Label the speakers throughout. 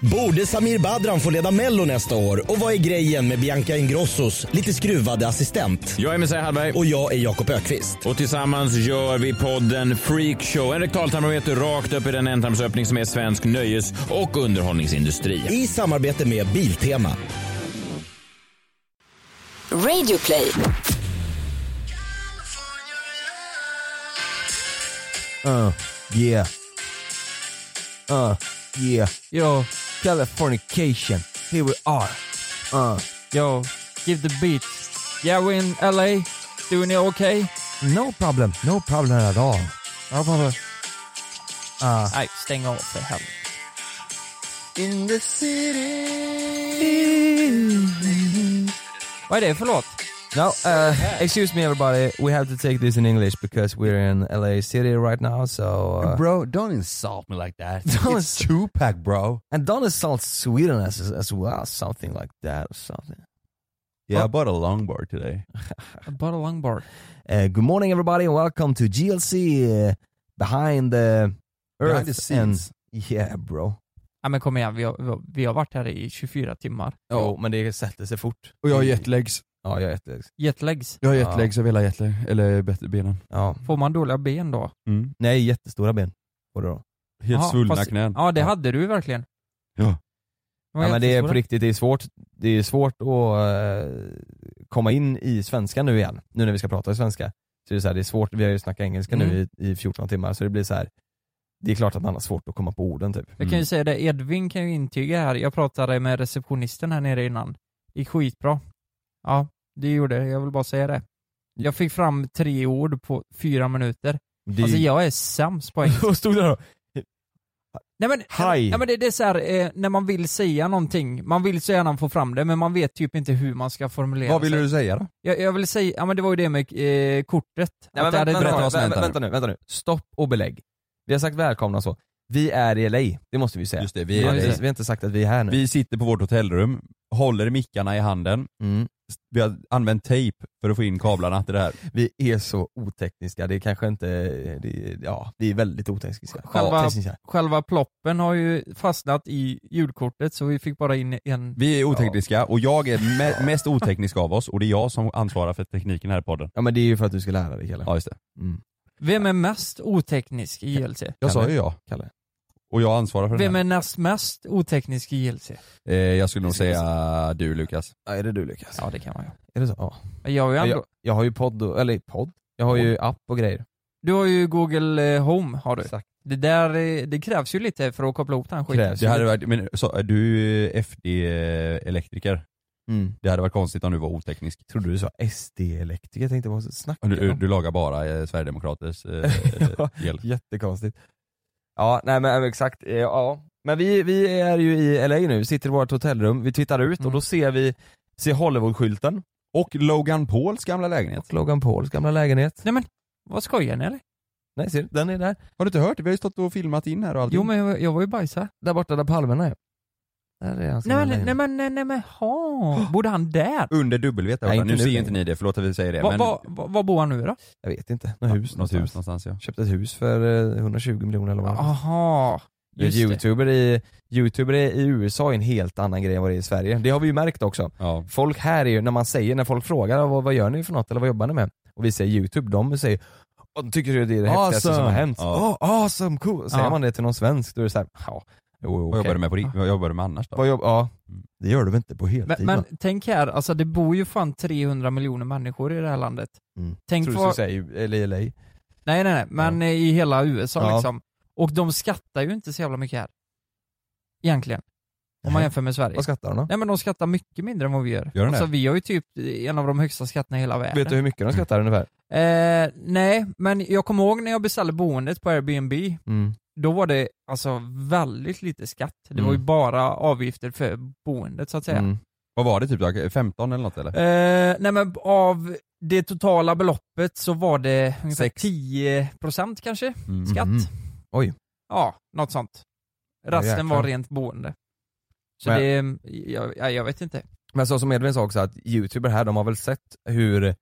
Speaker 1: Borde Samir Badran få leda Mello nästa år? Och vad är grejen med Bianca Ingrossos lite skruvade assistent?
Speaker 2: Jag är Messiah Hallberg
Speaker 1: Och jag är Jakob Ökvist.
Speaker 2: och tillsammans gör vi podden Freak Show. En rektaltarmometer rakt upp i den ändtarmsöppning som är svensk nöjes och underhållningsindustri.
Speaker 1: I samarbete med Biltema.
Speaker 3: Radio play.
Speaker 4: Uh, yeah. Uh, yeah. Yo, Californication. Here we are. Uh,
Speaker 5: Yo, give the beat. Yeah, we're in LA. Doing it okay?
Speaker 4: no problem. No problem at all. No problem. Uh,
Speaker 5: Nej, stäng av för helvete.
Speaker 4: in the city.
Speaker 5: Vad är det för låt?
Speaker 4: No, uh, excuse me everybody. We have to take this in English because we're in LA City right now, so... Uh,
Speaker 6: Bro, don't insult me like that.
Speaker 4: Don't
Speaker 6: it's Tupac, bro.
Speaker 4: and don't insult Sweden as, as well, something like that or something.
Speaker 6: Yeah, I bought a longboard today.
Speaker 5: Bara longbar.
Speaker 4: Uh, good morning, everybody, and welcome to GLC uh, behind the earth
Speaker 6: Behind the scenes.
Speaker 4: and yeah, bro.
Speaker 5: Ja men kom igen, vi har, vi har- vi har varit här i 24 timmar.
Speaker 6: Oh.
Speaker 4: Jo, men det sätter sig fort.
Speaker 7: Och jag har jetlags.
Speaker 4: Ja, jag är jätteläggs.
Speaker 5: Jetlags.
Speaker 7: Jag har
Speaker 4: Ja.
Speaker 7: jetlags av hela jetlag, eller bättre benen.
Speaker 4: Ja.
Speaker 5: Får man dåliga ben då?
Speaker 7: Mm.
Speaker 4: Nej, jättestora ben. Får du då?
Speaker 7: Helt
Speaker 5: Ja,
Speaker 7: svullna
Speaker 5: fast-
Speaker 7: knän.
Speaker 5: Ja, det hade du verkligen.
Speaker 7: Ja.
Speaker 5: Det var
Speaker 4: Ja, men det är på
Speaker 5: jättestora.
Speaker 4: riktigt, det är svårt, det är svårt att eh, komma in i svenska nu igen, nu när vi ska prata svenska. Så det är så här, det är svårt, vi har ju snackat engelska nu
Speaker 5: Mm.
Speaker 4: i, i 14 timmar, så det blir så här. det är klart att man har svårt att komma på orden typ.
Speaker 5: Jag kan ju säga det, Edvin kan ju intyga här. Jag pratade med receptionisten här nere innan. Det gick skitbra. Ja, det gjorde det. Jag vill bara säga det. Jag fick fram tre ord på fyra minuter.
Speaker 4: Det är
Speaker 5: Alltså
Speaker 4: ju-
Speaker 5: jag är sämst på engelska.
Speaker 4: Vad stod det då?
Speaker 5: Nej men,
Speaker 4: Haj.
Speaker 5: Nej, men det, det är så här, eh, när man vill säga någonting, man vill så gärna få fram det men man vet typ inte hur man ska formulera
Speaker 6: Vad ville
Speaker 5: sig.
Speaker 6: du säga då?
Speaker 5: Jag, jag vill säga, ja men det var ju det med eh, kortet.
Speaker 4: Nej, men
Speaker 5: det
Speaker 4: vänta,
Speaker 5: ett
Speaker 4: vänta,
Speaker 5: bra-
Speaker 4: vänta,
Speaker 6: som hänt
Speaker 4: vänta,
Speaker 6: här
Speaker 4: vänta nu, vänta nu. Stopp och belägg. Vi har sagt välkomna och så. Vi är i LA, det måste vi säga.
Speaker 6: Just det, vi,
Speaker 4: Ja,
Speaker 6: är
Speaker 5: Ja,
Speaker 4: vi,
Speaker 5: just
Speaker 4: vi har inte sagt att vi är här nu.
Speaker 6: vi sitter på vårt hotellrum, håller mickarna i handen.
Speaker 4: Mm.
Speaker 6: Vi har använt tejp för att få in kablarna till det här.
Speaker 4: Vi är så otekniska, det är kanske inte, det, ja, vi är väldigt otekniska.
Speaker 5: Själva-
Speaker 4: Ja, tekniska.
Speaker 5: Själva ploppen har ju fastnat i ljudkortet så vi fick bara in en...
Speaker 6: Vi är otekniska och jag är me- mest oteknisk av oss och det är jag som ansvarar för tekniken här i podden.
Speaker 4: ja men det är ju för att du ska lära dig Kalle.
Speaker 6: Ja just det.
Speaker 5: Vem är mest oteknisk i JLC?
Speaker 6: Jag
Speaker 4: Kalle.
Speaker 6: sa ju ja.
Speaker 4: Kalle.
Speaker 6: Och jag ansvarar för den
Speaker 5: Vem
Speaker 6: här.
Speaker 5: är näst mest oteknisk i JLC?
Speaker 6: Eh, jag skulle nog säga du Lukas.
Speaker 4: Ja, är det du Lukas?
Speaker 5: Ja det kan man ju.
Speaker 4: Är det så? Ja.
Speaker 5: Men Jag har ju
Speaker 4: Ja,
Speaker 5: ändå...
Speaker 4: jag, jag har ju podd, och, eller podd? Jag har ju app och grejer.
Speaker 5: Du har ju Google eh, Home har du.
Speaker 4: Exakt.
Speaker 5: Det där, eh, det krävs ju lite för att koppla ihop den skiten.
Speaker 4: Krävs.
Speaker 6: Eh, Det hade varit, men så, är du FD-elektriker?
Speaker 4: Mm.
Speaker 6: Det hade varit konstigt om du var oteknisk.
Speaker 4: Trodde du sa SD-elektriker? Jag tänkte vad snackar du
Speaker 6: Du,
Speaker 4: om?
Speaker 6: du lagar bara eh, Sverigedemokraters eh,
Speaker 4: Ja.
Speaker 6: el.
Speaker 4: Jättekonstigt. Ja, nej men exakt. eh, Ja. Men vi, vi är ju i LA nu, sitter i vårt hotellrum, vi tittar ut och
Speaker 5: Mm.
Speaker 4: då ser vi ser Hollywood-skylten
Speaker 6: Och Logan Pauls gamla lägenhet.
Speaker 4: och Logan Pauls gamla lägenhet.
Speaker 5: Nej men, vad skojar ni eller?
Speaker 4: Nej ser du, den är där.
Speaker 6: Har du inte hört? Vi har ju stått och filmat in här och allting.
Speaker 5: Jo men jag, jag var ju bajsad.
Speaker 4: Där borta där palmerna är. Där är hans
Speaker 5: Nej
Speaker 4: gamla
Speaker 5: men, nej
Speaker 4: lägenhet.
Speaker 5: men, nej, nej men, ha. Bodde han där?
Speaker 6: Under W där
Speaker 4: Nej,
Speaker 6: borta.
Speaker 4: inte
Speaker 6: Nu
Speaker 4: nu.
Speaker 6: ser inte ni det, förlåt att vi säger det.
Speaker 5: Var
Speaker 6: men...
Speaker 5: va, va, var bor han nu då?
Speaker 4: Jag vet inte, något hus.
Speaker 6: Något hus
Speaker 4: någonstans.
Speaker 6: någonstans ja.
Speaker 4: Köpte ett hus för eh, 120 miljoner eller vad det var.
Speaker 5: Jaha,
Speaker 4: Du vet,
Speaker 5: just det.
Speaker 4: Youtuber, i, youtuber i i USA är en helt annan grej än vad det är i Sverige. Det har vi ju märkt också.
Speaker 6: ja.
Speaker 4: Folk här är ju, när man säger, när folk frågar "Ah, vad, vad gör ni för något eller vad jobbar ni med? Och vi säger youtube, de säger "Åh, tycker du det är det häftigaste som har
Speaker 6: Awesome.
Speaker 4: hänt?
Speaker 6: Ja.
Speaker 4: "Åh, awesome, cool! Säger
Speaker 5: Ja.
Speaker 4: man det till någon svensk då är det såhär, ja, jo,
Speaker 6: Vad
Speaker 4: okej."
Speaker 6: jobbar du med på ri- Ah. Vad jobbar du med annars då?
Speaker 4: Vad jobb, ja. Det gör du väl inte på heltid?
Speaker 5: Men, men tänk här, alltså det bor ju fan 300 miljoner människor i det här landet.
Speaker 4: Mm.
Speaker 5: Tänk
Speaker 4: Tror du
Speaker 5: vad-
Speaker 4: skulle säga LA, LA.
Speaker 5: Nej nej nej, men eh, i hela USA
Speaker 4: Ja.
Speaker 5: liksom. Och de skattar ju inte så jävla mycket här. Egentligen. Om man
Speaker 4: Nej.
Speaker 5: jämför med Sverige.
Speaker 4: Vad skattar de då?
Speaker 5: Nej men de skattar mycket mindre än vad vi gör.
Speaker 6: Gör de
Speaker 5: alltså,
Speaker 6: det?
Speaker 5: vi har ju typ en av de högsta skatterna i hela världen.
Speaker 4: Vet du hur mycket de skattar ungefär?
Speaker 5: Eh, nej, men jag kommer ihåg när jag beställde boendet på Airbnb,
Speaker 4: Mm.
Speaker 5: då var det alltså väldigt lite skatt. Det var ju
Speaker 4: Mm.
Speaker 5: bara avgifter för boendet så att säga.
Speaker 4: Mm.
Speaker 6: Vad var det typ då? 15 eller något eller?
Speaker 5: Eh, nej men av det totala beloppet så var det ungefär
Speaker 6: Sex.
Speaker 5: 10% kanske,
Speaker 6: Mm.
Speaker 5: skatt.
Speaker 4: Mhm. Oj.
Speaker 5: Ja, något sånt. Resten
Speaker 4: jäklar.
Speaker 5: var rent boende. Så det, jag, jag, jag vet inte.
Speaker 4: Men så som Edvin sa också att youtuber här, de har väl sett hur,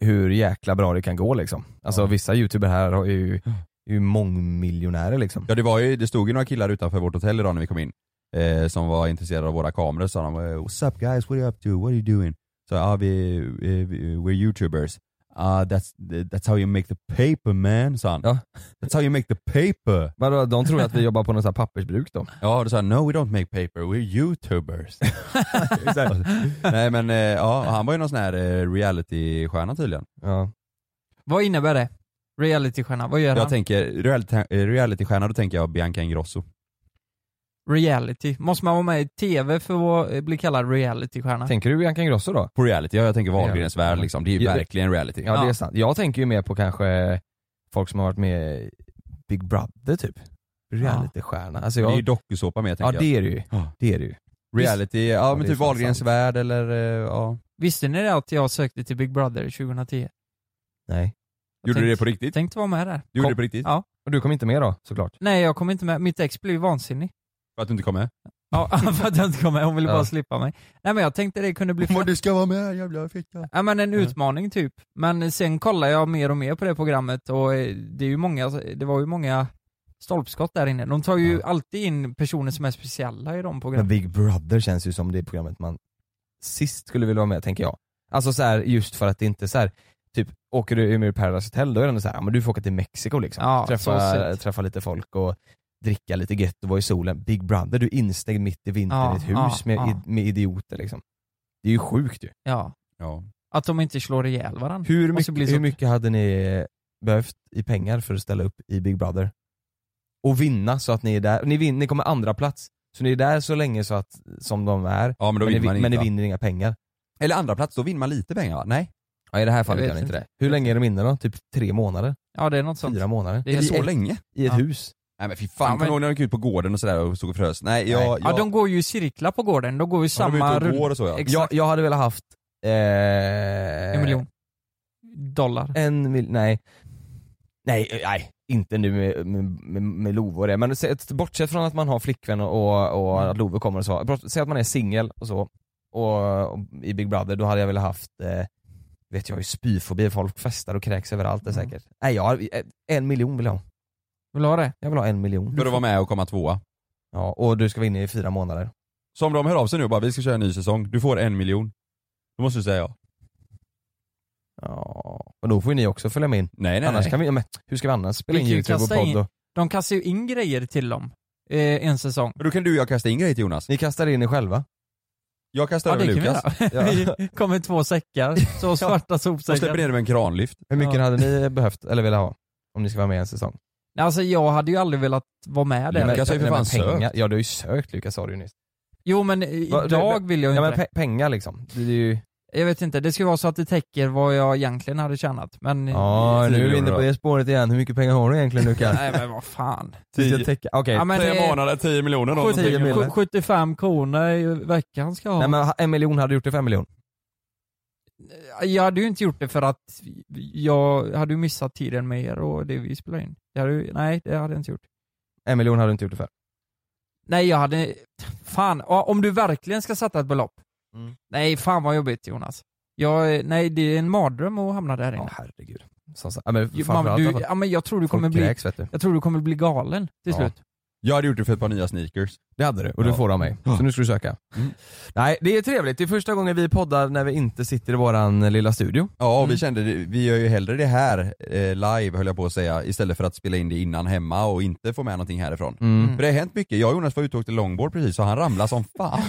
Speaker 4: hur jäkla bra det kan gå liksom. Alltså vissa youtuber här har ju, är ju mångmiljonärer liksom.
Speaker 6: Ja det var ju, det stod ju några killar utanför vårt hotell idag när vi kom in. Eh, eh, som var intresserade av våra kameror sa de eh, What's up guys, what are you up to, what are you doing? Så ah, vi, eh, vi- we're youtubers. Ah, that's, that's how you make the paper man, sa han.
Speaker 4: Ja.
Speaker 6: That's how you make the paper.
Speaker 4: Vadå, de tror att vi jobbar på något så här pappersbruk då?
Speaker 6: Ja, då sa han no we don't make paper, we're youtubers. Exakt. Nej men eh, ja, han var ju någon sån här eh, reality-stjärna tydligen.
Speaker 4: Ja.
Speaker 5: Vad innebär det? Realitystjärna, vad gör
Speaker 6: Jag
Speaker 5: han?
Speaker 6: tänker reality- eh, reality-stjärna, då tänker jag Bianca Ingrosso.
Speaker 5: Reality. Måste man vara med i TV för att eh, bli kallad realitystjärna?
Speaker 4: Tänker du Bianca Ingrosso då?
Speaker 6: På reality, ja jag tänker Wahlgrens
Speaker 4: Reality.
Speaker 6: värld liksom. Det är ju
Speaker 4: Ja.
Speaker 6: verkligen reality.
Speaker 4: Ja, det är sant. Jag tänker ju mer på kanske folk som har varit med i Big Brother typ. Realitystjärna. Alltså
Speaker 6: Det är ju
Speaker 4: jag,
Speaker 6: dokusåpa med
Speaker 4: ja
Speaker 6: tänker
Speaker 4: det är det ju.
Speaker 6: Ja.
Speaker 4: Det är det ju.
Speaker 6: jag. Reality, ja,
Speaker 4: det
Speaker 6: men
Speaker 4: är
Speaker 6: typ
Speaker 4: fan
Speaker 6: Wahlgrens
Speaker 4: sant.
Speaker 6: värld eller eh, ja.
Speaker 5: Visste ni det att jag sökte till Big Brother 2010?
Speaker 4: Nej.
Speaker 5: Jag Gjorde du tänkte- det på
Speaker 6: riktigt?
Speaker 5: Tänkte vara med där.
Speaker 6: Du gjorde det på riktigt?
Speaker 5: Ja.
Speaker 4: Och du kom inte med då såklart?
Speaker 5: Nej, jag kom inte med. Mitt ex blev vansinnig.
Speaker 6: För att du inte kom med?
Speaker 5: Ja, för att jag inte kom med. Hon ville
Speaker 4: Ja.
Speaker 5: bara slippa mig. Nej men jag tänkte det kunde bli...
Speaker 6: du ska vara med jävla fitta.
Speaker 5: Ja men en
Speaker 6: Ja.
Speaker 5: utmaning typ. Men sen kollar jag mer och mer på det programmet och eh, det, är ju många, det var ju många stolpskott där inne. De tar ju
Speaker 4: Ja.
Speaker 5: alltid in personer som är speciella i de
Speaker 4: Men
Speaker 5: programmen.
Speaker 4: Big Brother känns ju som det programmet man sist skulle vilja vara med tänker jag. Alltså så här, just för att det inte så här, typ åker du ur Paradise Hotel då är det ändå så här, ja, men du får åka till Mexiko liksom.
Speaker 5: Ja, så
Speaker 4: träffa,
Speaker 5: sett.
Speaker 4: träffa lite folk och dricka lite gött och vara i solen. Big Brother, du är instängd mitt i vintern
Speaker 5: Ja,
Speaker 4: i ett hus
Speaker 5: ja,
Speaker 4: med,
Speaker 5: ja.
Speaker 4: med idioter liksom. Det är ju sjukt ju.
Speaker 5: Ja.
Speaker 6: Ja.
Speaker 5: Att de inte slår ihjäl varandra.
Speaker 4: Hur
Speaker 5: Måste bli
Speaker 4: mycket,
Speaker 5: så-
Speaker 4: hur mycket hade ni behövt i pengar för att ställa upp i Big Brother? Och vinna så att ni är där, ni, vin, ni kommer andra plats så ni är där så länge så att, som de är,
Speaker 6: ja men då
Speaker 4: men ni,
Speaker 6: vinner man
Speaker 4: vin- men ni
Speaker 6: inte. va?
Speaker 4: vinner inga pengar.
Speaker 6: Eller andra plats då vinner man lite pengar va? Nej?
Speaker 4: Ja, i det här
Speaker 5: fallet
Speaker 4: fallet
Speaker 5: vet
Speaker 4: gör ni inte
Speaker 5: inte.
Speaker 4: det. Hur länge är de inne då? Typ tre månader?
Speaker 5: Ja det är något sånt.
Speaker 4: Fyra månader?
Speaker 5: Det är
Speaker 6: så
Speaker 5: så länge.
Speaker 6: länge?
Speaker 4: I ett
Speaker 5: Ja.
Speaker 4: hus?
Speaker 6: Nej men fy fan,
Speaker 5: Ja,
Speaker 6: kommer
Speaker 5: men-
Speaker 6: du ihåg när de gick ut på gården och sådär och stod och frös? Nej jag...
Speaker 4: Nej.
Speaker 6: jag
Speaker 5: Ja de går ju i cirklar på gården, de går ju
Speaker 6: ja, de
Speaker 5: samma
Speaker 6: är ute och
Speaker 5: rull.
Speaker 6: går och så ja.
Speaker 5: Exakt.
Speaker 4: Jag, jag hade velat haft eh,
Speaker 5: En miljon. Dollar.
Speaker 4: En mil, nej. Nej, eh, nej. Inte nu med, med, med, med Love och det, men se- ett- bortsett från att man har flickvän och, och
Speaker 5: Mm.
Speaker 4: att Love kommer och så, bort- säg att man är singel och så, och, och i Big Brother, då hade jag velat haft, eh, vet jag, jag har ju spyfobi, folk festar och kräks överallt det är
Speaker 5: Mm.
Speaker 4: säkert. Nej, jag, har- eh, en miljon vill jag ha.
Speaker 5: Vill du ha det?
Speaker 4: Jag vill ha en miljon.
Speaker 6: För att vara med och komma tvåa.
Speaker 4: Ja, och du ska vara inne i fyra månader.
Speaker 6: Så om de hör av sig nu och bara vi ska köra en ny säsong, du får en miljon. Då måste du säga ja.
Speaker 4: Ja, och då får ju ni också följa med in.
Speaker 6: Nej nej
Speaker 4: annars
Speaker 6: nej.
Speaker 4: kan vi, men, hur ska vi annars spela
Speaker 5: Vi
Speaker 4: in
Speaker 5: kan ju
Speaker 4: YouTube och
Speaker 5: kasta
Speaker 4: podd?
Speaker 5: in-
Speaker 4: Och,
Speaker 5: De kastar ju in grejer till dem. Eh, en säsong.
Speaker 6: Men Då kan du och jag kasta in grejer till Jonas.
Speaker 4: ni kastar in er själva.
Speaker 6: Jag kastar
Speaker 5: Ja
Speaker 6: över
Speaker 5: det kan vi
Speaker 6: Lukas.
Speaker 5: göra.
Speaker 4: Ja.
Speaker 5: Vi kommer två säckar, så svarta
Speaker 6: Och släpper
Speaker 5: sopsäckar.
Speaker 6: ner dig med en kranlyft.
Speaker 4: Hur mycket
Speaker 5: Ja.
Speaker 4: hade ni behövt, eller velat ha? Om ni ska vara med i en säsong?
Speaker 5: Nej, Alltså jag hade ju aldrig velat vara med där.
Speaker 6: Lukas har ju
Speaker 4: Nej, men
Speaker 6: för fan sökt.
Speaker 4: pengar. Ja du har ju sökt Lukas sa du ju nyss.
Speaker 5: Jo men i-
Speaker 4: Va-
Speaker 5: idag vill jag ju
Speaker 4: Ja
Speaker 5: inte
Speaker 4: men
Speaker 5: det.
Speaker 4: pe- pengar liksom. Det är ju...
Speaker 5: Jag vet inte, det ska vara så att det täcker vad jag egentligen hade tjänat. Men...
Speaker 4: Ja nu är vi inne på
Speaker 6: då.
Speaker 4: det spåret igen, hur mycket pengar har du egentligen Lukas?
Speaker 5: Nej men vad fan.
Speaker 4: Vi ska täcka- Okej,
Speaker 5: Ja, men, eh,
Speaker 6: månader, 10 miljoner
Speaker 5: sjut-
Speaker 4: någonting.
Speaker 5: sju- 75 kronor i veckan ska jag ha.
Speaker 4: nej men en miljon hade du gjort det för en miljon.
Speaker 5: Jag hade ju inte gjort det för att jag hade ju missat tiden med er och det vi spelar in. Det hade ju, nej, det hade jag inte gjort.
Speaker 4: En miljon hade du inte gjort det för.
Speaker 5: Nej jag hade... Fan, ja, om du verkligen ska sätta ett belopp.
Speaker 4: Mm.
Speaker 5: Nej, fan vad jobbigt Jonas. Jag, nej, det är en mardröm att hamna där
Speaker 4: Ja
Speaker 5: inne.
Speaker 4: herregud. Som sagt, ja, men
Speaker 5: Jo,
Speaker 4: framförallt
Speaker 5: man, du,
Speaker 4: att
Speaker 5: ja, men jag tror du kommer
Speaker 4: folk
Speaker 5: bli
Speaker 4: kräks vet du.
Speaker 5: Jag tror du kommer bli galen till
Speaker 4: Ja.
Speaker 5: slut.
Speaker 6: Jag hade gjort det för ett par nya sneakers.
Speaker 4: Det hade du, och du
Speaker 6: Ja. Mm.
Speaker 4: får av mig. Så nu ska du söka. Nej, det är trevligt. Det är första gången vi poddar när vi inte sitter i våran eh, lilla studio.
Speaker 6: Ja och
Speaker 5: Mm.
Speaker 6: vi kände, det- vi gör ju hellre det här eh, live höll jag på att säga, istället för att spela in det innan hemma och inte få med någonting härifrån.
Speaker 5: Mm.
Speaker 6: För det har hänt mycket, jag och Jonas var ute och åkte longboard precis och han ramlade som fan.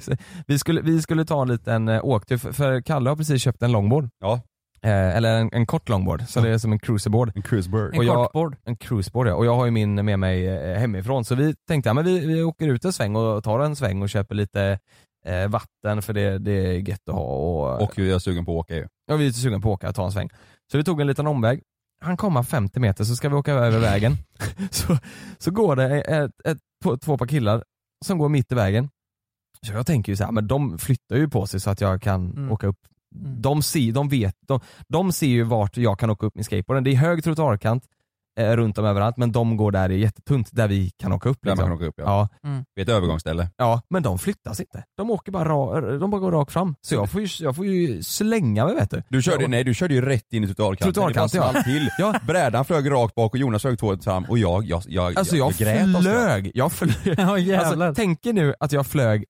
Speaker 4: Så vi, skulle, vi skulle ta en liten eh, åktur, för- för Kalle har precis köpt en longboard.
Speaker 6: Ja.
Speaker 4: Eh, eller en, en kort longboard, så det är som en cruiserboard.
Speaker 6: En cruisebird.
Speaker 5: En
Speaker 4: Och jag-
Speaker 5: kortboard.
Speaker 4: En cruiseboard ja, och jag har ju min med mig eh, hemifrån. Så vi tänkte ja, men vi, vi åker ut en sväng och tar en sväng och köper lite eh, vatten för det, det är gött att ha. Och,
Speaker 6: Och jag är sugen på att åka ju.
Speaker 4: Ja, vi är sugna på att åka och ta en sväng. Så vi tog en liten omväg. Han kommer 50 meter så ska vi åka över vägen. så, så går det ett, ett, på- två par killar som går mitt i vägen. Så jag tänker ju så här, men de flyttar ju på sig så att jag kan
Speaker 5: Mm.
Speaker 4: åka upp.
Speaker 5: Mm.
Speaker 4: De ser, de, vet, de, de ser ju vart jag kan åka upp min skateboard. Det är hög trottoarkant, eh, runt om överallt, men de går där det är jättetunt, där vi kan åka upp
Speaker 6: Där man
Speaker 4: liksom.
Speaker 6: kan åka upp ja.
Speaker 4: Ja,
Speaker 6: Vid ett övergångsställe.
Speaker 4: ja, men de flyttas inte. De åker bara ra, de bara går rakt fram. Så jag får ju, jag får ju slänga mig vet du.
Speaker 6: Du körde,
Speaker 4: Ja.
Speaker 6: nej, du körde ju rätt in i totalkanten.
Speaker 4: Totalkanten,
Speaker 6: det bara
Speaker 4: ja.
Speaker 6: small till.
Speaker 4: Ja.
Speaker 6: Brädan flög rakt bak och Jonas flög två fram och jag, jag, jag,
Speaker 4: Alltså jag,
Speaker 6: grät av skratt.
Speaker 4: flög. Jag flög.
Speaker 5: Ja jävlar.
Speaker 4: Alltså, tänk er nu att jag flög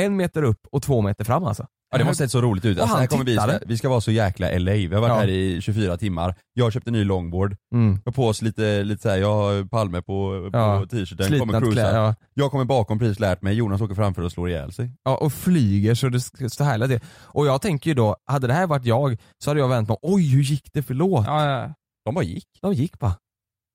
Speaker 4: en meter upp och två meter fram alltså.
Speaker 6: Ja, det måste sett så roligt ut.
Speaker 4: Och
Speaker 6: Alltså,
Speaker 4: han
Speaker 6: här kommer vi,
Speaker 4: tittade.
Speaker 6: vi ska vara så jäkla LA. Vi har varit
Speaker 4: Ja.
Speaker 6: här i 24 timmar. Jag köpte ny longboard.
Speaker 4: Mm.
Speaker 6: Jag har på oss lite, lite såhär, jag har Palme på, på
Speaker 4: Ja.
Speaker 6: t-shirten, kommer
Speaker 4: Slitna
Speaker 6: cruisa.
Speaker 4: kläder. Ja.
Speaker 6: Jag kommer bakom precis lärt mig, Jonas åker framför och slår ihjäl sig.
Speaker 4: Ja, och flyger så det ska stå härligt till. Och jag tänker ju då, hade det här varit jag så hade jag vänt mig oj hur gick det förlåt?
Speaker 5: ja, ja.
Speaker 6: De bara gick.
Speaker 4: De gick bara.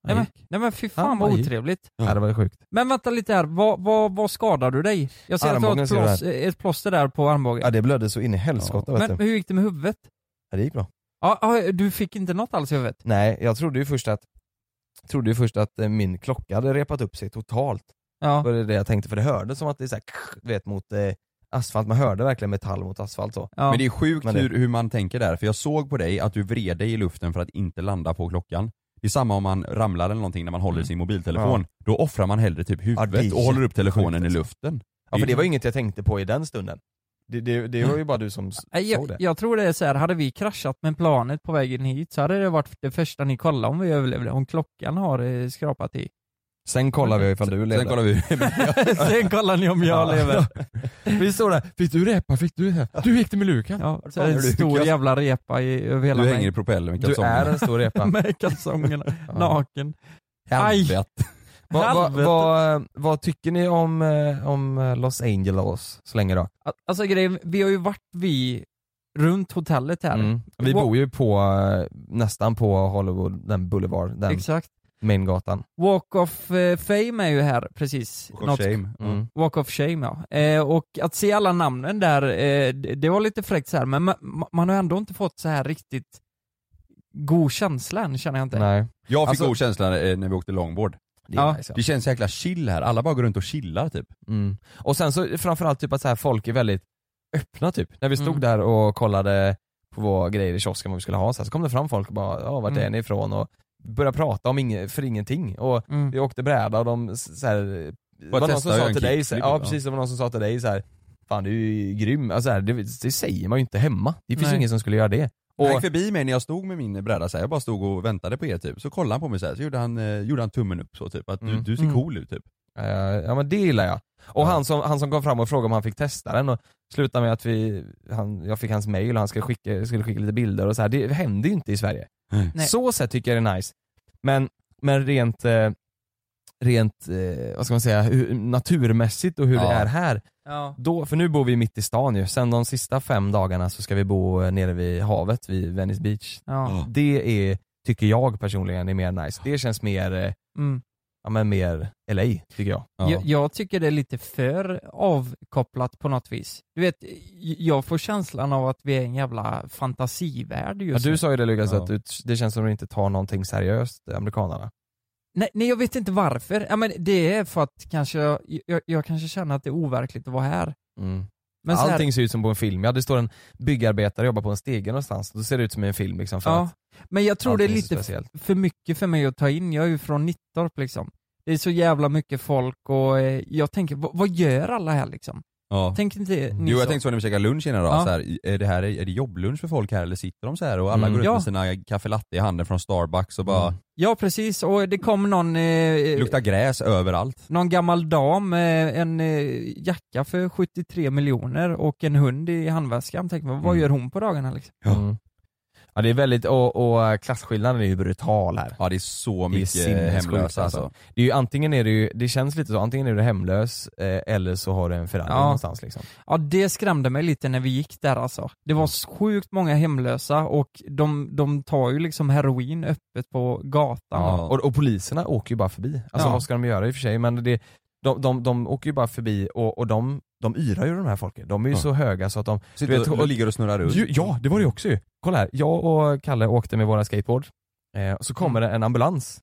Speaker 4: De
Speaker 5: Nej, men,
Speaker 4: gick.
Speaker 5: nej men fy
Speaker 4: Han
Speaker 5: fan
Speaker 4: var
Speaker 5: vad
Speaker 4: ju-
Speaker 5: otrevligt.
Speaker 4: Ja. det var sjukt.
Speaker 5: Men vänta lite här, vad, vad, vad skadar du dig? Jag ser att du har
Speaker 3: Armbågen
Speaker 5: ett,
Speaker 3: ser du
Speaker 5: plås, ett plåster där på armbågen.
Speaker 3: Ja det blödde så in i helskotta vet
Speaker 5: men
Speaker 3: du.
Speaker 5: hur gick det med huvudet?
Speaker 3: Ja, det gick bra.
Speaker 5: Ja, ja, du fick inte något alls i huvudet?
Speaker 3: Nej, jag trodde ju först att trodde ju först att eh, min klocka hade repat upp sig totalt. Det
Speaker 5: Ja.
Speaker 3: var det jag tänkte, för det hördes som att det är såhär, du vet mot eh, asfalt, man hörde verkligen metall mot asfalt så.
Speaker 5: ja.
Speaker 6: Men det är sjukt
Speaker 3: Men det-
Speaker 6: Hur, hur man tänker där, för jag såg på dig att du vred dig i luften för att inte landa på klockan. Det är samma om man ramlar eller någonting när man håller i sin mobiltelefon. Då offrar man hellre typ
Speaker 3: Mm. Ja, det är
Speaker 6: huvudet och håller upp telefonen i
Speaker 3: alltså.
Speaker 6: luften.
Speaker 3: Ja för det var
Speaker 5: Mm.
Speaker 3: ju inget jag tänkte på i den stunden. Det, det, det var ju bara du som s-
Speaker 5: Mm. Nej,
Speaker 3: såg
Speaker 5: jag,
Speaker 3: det.
Speaker 5: jag tror det är så här, hade vi kraschat med planet på vägen hit så hade det varit det första ni kollade om vi överlevde, om klockan har eh, skrapat i.
Speaker 3: Sen kollar vi ifall du lever.
Speaker 6: Sen kollar vi
Speaker 5: Sen kollar ni om jag lever.
Speaker 4: Vi står där, fick du repa? Fick du det? Du gick det med Lukan?
Speaker 5: Ja, så
Speaker 6: fan
Speaker 5: är det
Speaker 6: är
Speaker 5: en
Speaker 6: du?
Speaker 5: stor
Speaker 6: Jag-
Speaker 5: jävla repa i, över hela
Speaker 6: Du hänger
Speaker 5: mig.
Speaker 6: i propellen med
Speaker 4: Du är
Speaker 6: kalsongerna.
Speaker 4: en stor repa.
Speaker 5: Med kalsongerna, naken. Aj!
Speaker 6: Helvete.
Speaker 4: Vad vad-
Speaker 5: Helvete.
Speaker 4: vad, eh, vad tycker ni om, eh, om eh, Los Angeles så länge då?
Speaker 5: Alltså grejen, vi har ju varit vi runt hotellet här.
Speaker 4: Mm. Vi
Speaker 5: Wa-
Speaker 4: bor ju på, eh, nästan på Hollywood, den Boulevard, den
Speaker 5: Exakt.
Speaker 4: maingatan.
Speaker 5: Walk of eh, Fame är ju här precis.
Speaker 6: Och
Speaker 5: Något-
Speaker 6: shame.
Speaker 4: Mm.
Speaker 5: Walk of Shame ja. Eh, och att se alla namnen där, eh, det, det var lite fräckt så här, men ma- man har ändå inte fått så här riktigt god känsla än känner jag inte.
Speaker 4: Nej.
Speaker 6: Jag fick
Speaker 4: Alltså-
Speaker 6: god känsla eh, när vi åkte longboard.
Speaker 4: Det är
Speaker 5: Ja.
Speaker 4: nice, ja.
Speaker 6: Det känns jäkla chill här, alla bara går runt och chillar typ.
Speaker 4: Mm. Och sen så framförallt typ att så här, folk är väldigt öppna typ. När vi stod
Speaker 5: Mm.
Speaker 4: där och kollade på våra grejer i kiosken vad vi skulle ha så, här, så kom det fram folk och bara ja vart är
Speaker 5: Mm.
Speaker 4: ni ifrån och började prata om inge- för ingenting. Och
Speaker 5: Mm.
Speaker 4: vi åkte bräda och de s- så här, det var någon
Speaker 6: testa
Speaker 4: som
Speaker 6: att göra
Speaker 4: sa
Speaker 6: en
Speaker 4: till dig,
Speaker 6: kickflip,
Speaker 4: så, här,
Speaker 6: ja.
Speaker 4: ja precis, det var någon som sa till dig så här, Fan du är ju grym, alltså, så här, det, det säger man ju inte hemma. Det finns ju
Speaker 5: Nej.
Speaker 4: ingen som skulle göra det.
Speaker 6: Och...
Speaker 4: Och-
Speaker 6: Han gick förbi mig när jag stod med min bräda så här. jag bara stod och väntade på er typ. Så kollade han på mig så här. så gjorde han, eh, gjorde han tummen upp så typ, att du,
Speaker 4: Mm.
Speaker 6: du ser
Speaker 5: Mm.
Speaker 6: cool ut typ.
Speaker 4: Eh, Ja men det gillar jag. Och
Speaker 6: Ja.
Speaker 4: han, som, han som kom fram och frågade om han fick testa den och slutade med att vi, han, jag fick hans mail och han skulle skicka, skulle skicka lite bilder och så här. det händer ju inte i Sverige.
Speaker 5: Nej.
Speaker 4: Så sett tycker jag det är nice. Men, men rent, eh, rent, eh, vad ska man säga, hur, naturmässigt och hur
Speaker 6: Ja.
Speaker 4: det är här.
Speaker 5: Ja.
Speaker 4: Då, för nu bor vi mitt i stan ju, sen de sista fem dagarna så ska vi bo eh, nere vid havet, vid Venice Beach.
Speaker 5: Ja.
Speaker 4: Det är, tycker jag personligen är mer nice. Det känns mer, eh,
Speaker 5: Mm.
Speaker 4: ja men mer LA tycker jag.
Speaker 5: Jag, jag tycker det är lite för avkopplat på något vis. Du vet, j- jag får känslan av att vi är en jävla fantasivärld
Speaker 4: Ja,
Speaker 5: just nu.
Speaker 4: du sa ju det Lukas,
Speaker 6: Ja.
Speaker 4: att du, det känns som att de inte tar någonting seriöst, eh, amerikanarna.
Speaker 5: Nej, nej, jag vet inte varför. Ja, men det är för att kanske jag, jag, jag kanske känner att det är overkligt att vara här. Men så här-
Speaker 4: Mm. Allting ser ut som på en film, ja det står en byggarbetare och jobbar på en stege någonstans, då ser det ut som i en film liksom för
Speaker 5: Ja,
Speaker 4: att
Speaker 5: men jag tror det är
Speaker 4: allting så
Speaker 5: lite
Speaker 4: speciellt.
Speaker 5: för mycket för mig att ta in. Jag är ju från Nittorp liksom. Det är så jävla mycket folk och eh, jag tänker, vad- vad gör alla här liksom?
Speaker 6: Ja.
Speaker 5: Tänk inte ni
Speaker 6: Jo
Speaker 5: så?
Speaker 6: jag tänkte så när vi käkade lunch innan idag,
Speaker 5: Ja.
Speaker 6: så här, är, det här, är det jobblunch för folk här eller sitter de så här och alla
Speaker 4: Mm.
Speaker 6: går ut
Speaker 5: Ja.
Speaker 6: med sina kaffe latte i handen från Starbucks och bara,
Speaker 4: Mm.
Speaker 5: Ja precis, och det kom någon, eh, eh,
Speaker 6: luktar gräs överallt.
Speaker 5: någon gammal dam med en eh, jacka för 73 miljoner och en hund i handväskan. Tänk, vad
Speaker 6: Mm.
Speaker 5: gör hon på dagarna liksom?
Speaker 6: Ja.
Speaker 4: Mm. Ja det är väldigt, och, och klasskillnaden är ju brutal här.
Speaker 6: Ja det är så
Speaker 4: Det är
Speaker 6: mycket
Speaker 4: sinnessjukt,
Speaker 6: hemlösa alltså.
Speaker 4: Det är ju, antingen är det ju, det känns lite så, antingen är du hemlös eh, eller så har du en förälder
Speaker 5: Ja.
Speaker 4: någonstans liksom.
Speaker 5: Ja det skrämde mig lite när vi gick där alltså. Det var sjukt många hemlösa och de, de tar ju liksom heroin öppet på gatan.
Speaker 6: Ja.
Speaker 4: Och, och poliserna åker ju bara förbi. Alltså
Speaker 5: Ja.
Speaker 4: vad ska de göra i och för sig? Men det, de, de, de åker ju bara förbi och, och de, de yrar ju de här folken. De är ju
Speaker 6: Ja.
Speaker 4: så höga så att de...
Speaker 6: Sitter
Speaker 4: Du vet,
Speaker 6: och, och ligger och snurrar runt.
Speaker 4: Ju- Ja, det var det ju också ju. Kolla här, jag och Kalle åkte med våra skateboards. Eh, och så kommer det en ambulans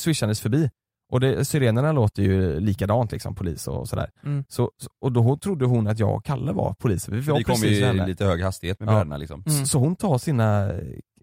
Speaker 4: swishandes förbi. Och det, sirenerna låter ju likadant liksom, polis och sådär.
Speaker 5: Mm.
Speaker 4: Så, så- och då trodde hon att jag och Kalle var poliser. Vi var
Speaker 6: Vi kommer
Speaker 4: precis
Speaker 6: ju i
Speaker 4: henne.
Speaker 6: lite hög hastighet med
Speaker 4: Ja.
Speaker 6: brädorna liksom.
Speaker 5: Mm.
Speaker 4: Så hon tar sina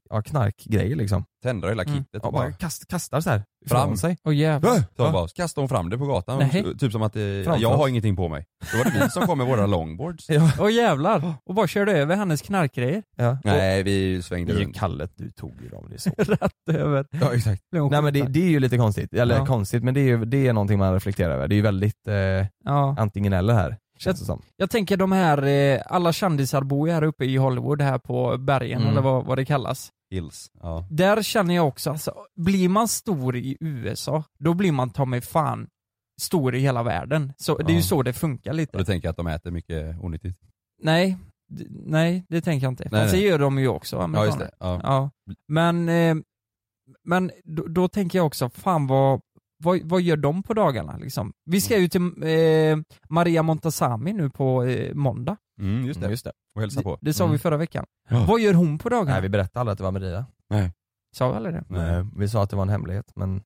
Speaker 4: ja, knarkgrejer liksom.
Speaker 6: Tänder hela
Speaker 5: Mm.
Speaker 6: kittet
Speaker 4: Ja,
Speaker 6: och
Speaker 4: bara
Speaker 6: bara...
Speaker 4: kast, kastar så här
Speaker 6: Fram.
Speaker 4: ifrån sig.
Speaker 5: Åh jävlar.
Speaker 6: Typ. Så
Speaker 4: Va?
Speaker 6: bara, så kastade hon fram det på gatan,
Speaker 5: Nej.
Speaker 6: typ som att eh,
Speaker 4: Framför
Speaker 6: jag har
Speaker 4: oss.
Speaker 6: ingenting på mig. Då var det vi som kom med våra longboards.
Speaker 5: Åh jävlar. Och bara körde över hennes knarkgrejer.
Speaker 4: Ja.
Speaker 6: Nej, vi svängde
Speaker 4: Det är ju
Speaker 6: runt.
Speaker 4: kallet du tog ju dem. Det är så.
Speaker 5: Rätt över.
Speaker 6: Ja, exakt.
Speaker 5: Blev hon
Speaker 4: Nej men det,
Speaker 5: skjuten.
Speaker 4: det är ju lite konstigt. Eller
Speaker 5: Ja.
Speaker 4: konstigt, men det är ju det är någonting man reflekterar över. Det är ju väldigt eh,
Speaker 5: Ja.
Speaker 4: antingen eller här. Känns det som.
Speaker 5: Jag tänker de här, eh, alla kändisar bor ju här uppe i Hollywood, här på bergen
Speaker 4: Mm.
Speaker 5: eller vad, vad det kallas.
Speaker 6: Hills. Ja.
Speaker 5: Där känner jag också, alltså, blir man stor i USA, då blir man ta mig fan stor i hela världen. Så det är ju
Speaker 6: Ja.
Speaker 5: så det funkar
Speaker 6: Och
Speaker 5: lite.
Speaker 6: då tänker jag att de äter mycket onyttigt.
Speaker 5: Nej, d- nej det tänker jag inte.
Speaker 6: Nej,
Speaker 5: Fast det
Speaker 6: nej.
Speaker 5: gör de ju också,
Speaker 6: Ja,
Speaker 5: amerikaner.
Speaker 6: just det. Ja.
Speaker 5: Ja. Men, eh, men då, då tänker jag också, fan vad, vad, vad gör de på dagarna liksom? Vi
Speaker 6: Mm.
Speaker 5: ska ju till eh, Maria Montazami nu på eh, måndag.
Speaker 6: Mm, just det.
Speaker 4: Just det.
Speaker 6: Och hälsa på. Mm.
Speaker 5: Det, det sa vi förra veckan.
Speaker 6: Ja.
Speaker 5: Vad gör hon på dagarna?
Speaker 4: Nej vi berättade aldrig att det var Maria.
Speaker 5: Sa vi aldrig det?
Speaker 6: Nej.
Speaker 4: Eh, Vi sa att det var en hemlighet, men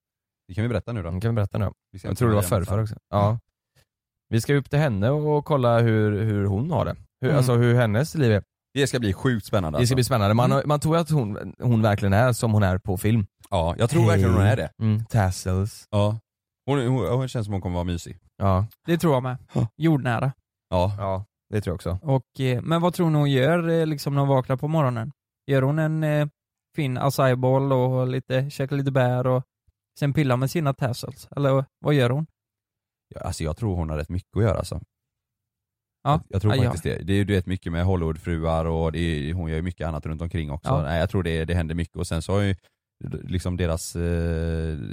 Speaker 6: Det kan vi berätta nu då.
Speaker 4: den kan vi berätta nu.
Speaker 6: Vi ska
Speaker 4: Jag tror det var
Speaker 6: inte börja
Speaker 4: förrförra
Speaker 6: med
Speaker 4: också. Ja. Vi ska upp till henne och kolla hur, hur hon har det. Hur,
Speaker 5: Mm.
Speaker 4: Alltså hur hennes liv är.
Speaker 6: samma. Det ska bli sjukt spännande
Speaker 4: Det ska
Speaker 6: alltså.
Speaker 4: bli spännande. Man, man tror att hon, hon verkligen är som hon är på film.
Speaker 6: Ja, jag tror verkligen hon är det.
Speaker 4: Mm. Tassels.
Speaker 6: Ja. Hon, hon, hon känns som hon kommer vara mysig.
Speaker 4: Ja.
Speaker 5: Det tror jag med. Jordnära.
Speaker 6: Ja.
Speaker 4: ja, det tror jag också.
Speaker 5: Och, eh, men vad tror ni hon gör eh, liksom när hon vaknar på morgonen? Gör hon en eh, fin acai bowl och lite, käkar lite bär och sen pillar med sina tassels? Eller vad gör hon?
Speaker 6: Ja, Alltså jag tror hon har rätt mycket att göra alltså.
Speaker 5: Ja.
Speaker 6: Jag tror
Speaker 5: Ja, ja.
Speaker 6: faktiskt det. Det är ju du vet mycket med Hollywoodfruar och det är, hon gör ju mycket annat runt omkring också.
Speaker 5: Ja.
Speaker 6: Nej, jag tror det, det händer mycket och sen så har ju liksom deras eh,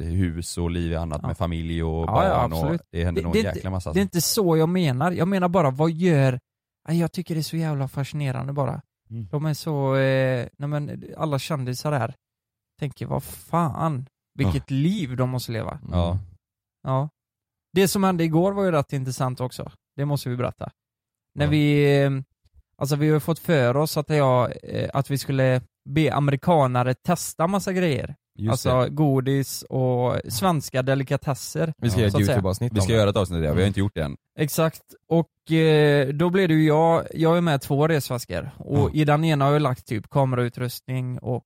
Speaker 6: hus och liv i annat
Speaker 5: Ja.
Speaker 6: med familj och
Speaker 5: Ja, ja,
Speaker 6: barn och
Speaker 5: absolut.
Speaker 6: det händer
Speaker 5: Det-
Speaker 6: nog
Speaker 5: det-
Speaker 6: en jäkla massa.
Speaker 5: Det är inte så jag menar. Jag menar bara, vad gör... Nej, Jag tycker det är så jävla fascinerande bara.
Speaker 6: Mm.
Speaker 5: De är så... Eh, nej men alla kändisar här tänker, vad fan, vilket liv de måste leva.
Speaker 6: Ja.
Speaker 5: Ja. Det som hände igår var ju rätt intressant också. Det måste vi berätta. När
Speaker 6: Ja.
Speaker 5: vi... eh, Alltså vi har ju fått för oss att, jag, eh, att vi skulle be amerikanare testa massa grejer.
Speaker 6: Just
Speaker 5: alltså godis och svenska delikatesser.
Speaker 4: Vi ska
Speaker 5: Ja,
Speaker 4: göra
Speaker 5: så
Speaker 4: ett
Speaker 5: att säga.
Speaker 4: YouTube-avsnitt
Speaker 6: Vi ska
Speaker 4: om det.
Speaker 6: göra ett avsnitt av det, vi har inte gjort det än.
Speaker 5: Exakt, och eh, då blev det ju jag, jag är med två resväskor och
Speaker 6: Ja.
Speaker 5: i den ena har jag lagt typ kamerautrustning och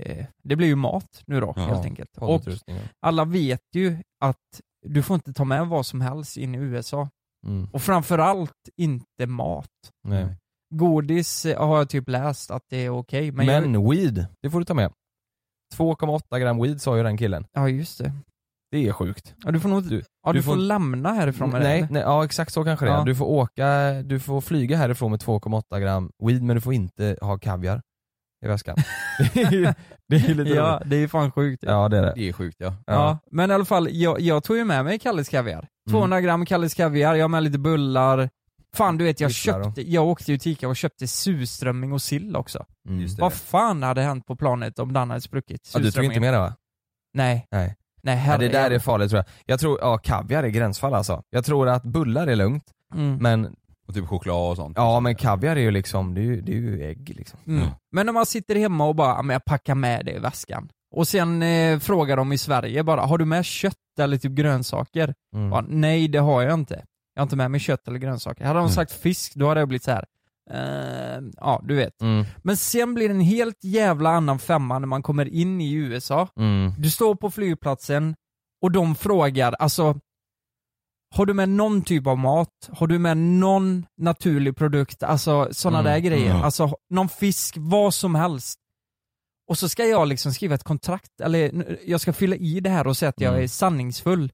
Speaker 5: eh, det blir ju mat nu då
Speaker 6: Ja.
Speaker 5: helt enkelt. Och
Speaker 4: Poddutryckning, ja.
Speaker 5: alla vet ju att du får inte ta med vad som helst in i USA
Speaker 4: Mm.
Speaker 5: och framförallt inte mat.
Speaker 4: Nej.
Speaker 5: Godis eh, har jag typ läst att det är okej, men,
Speaker 4: Men,
Speaker 5: jag,
Speaker 4: weed, det får du ta med. 2,8 gram weed sa ju den killen.
Speaker 5: ja just det.
Speaker 4: Det är sjukt.
Speaker 5: Ja, du får nog inte,
Speaker 4: Du-
Speaker 5: ja, du,
Speaker 4: du
Speaker 5: får,
Speaker 4: får-
Speaker 5: lämna härifrån med det.
Speaker 4: nej,
Speaker 5: eller?
Speaker 4: nej, ja exakt så kanske det
Speaker 5: Ja.
Speaker 4: är. Du får åka, du får flyga härifrån med 2,8 gram weed men du får inte ha kaviar i väskan. det är ju- det är ju lite
Speaker 5: Ja,
Speaker 4: roligt.
Speaker 5: det är ju fan sjukt.
Speaker 4: Ja det är det.
Speaker 6: Det är sjukt ja.
Speaker 5: Ja. men i alla fall, jag, jag tog ju med mig Kalles
Speaker 4: Mm.
Speaker 5: Kaviar. 200 gram Kalles Kaviar, jag har med lite bullar. Fan du vet, jag
Speaker 4: Bullar då.
Speaker 5: köpte, jag åkte ju till Ica och köpte surströmming och sill också.
Speaker 4: Mm.
Speaker 6: Just det.
Speaker 5: Vad fan hade hänt på planet om den hade spruckit?
Speaker 4: Ja, du tog inte
Speaker 5: Surströmmingen.
Speaker 4: med det va?
Speaker 5: Nej.
Speaker 4: Nej.
Speaker 5: Nej,
Speaker 4: Ja,
Speaker 5: herre,
Speaker 4: det där är farligt tror jag. Jag tror, ja kaviar är gränsfall alltså. Jag tror att bullar är lugnt,
Speaker 5: mm. men,
Speaker 4: men
Speaker 6: Och typ choklad och sånt.
Speaker 4: ja men kaviar är ju liksom, det är ju, det är ju ägg liksom.
Speaker 5: mm. men om man sitter hemma och bara, ja, men jag packar med det i väskan. Och sen eh, frågar de i Sverige bara, har du med kött eller typ grönsaker?
Speaker 4: Mm.
Speaker 5: Ja, nej, det har jag inte. Jag har inte med mig kött eller grönsaker. Hade de sagt fisk, då hade jag blivit så här. "Eh, ja, du vet.
Speaker 4: Mm.
Speaker 5: Men sen blir det en helt jävla annan femma när man kommer in i USA.
Speaker 4: Mm.
Speaker 5: Du står på flygplatsen och de frågar, alltså har du med någon typ av mat? Har du med någon naturlig produkt? Alltså sådana
Speaker 4: Mm.
Speaker 5: där grejer.
Speaker 6: Ja.
Speaker 5: Alltså någon fisk, vad som helst. Och så ska jag liksom skriva ett kontrakt, eller n- jag ska fylla i det här och säga att jag
Speaker 4: Mm.
Speaker 5: är sanningsfull.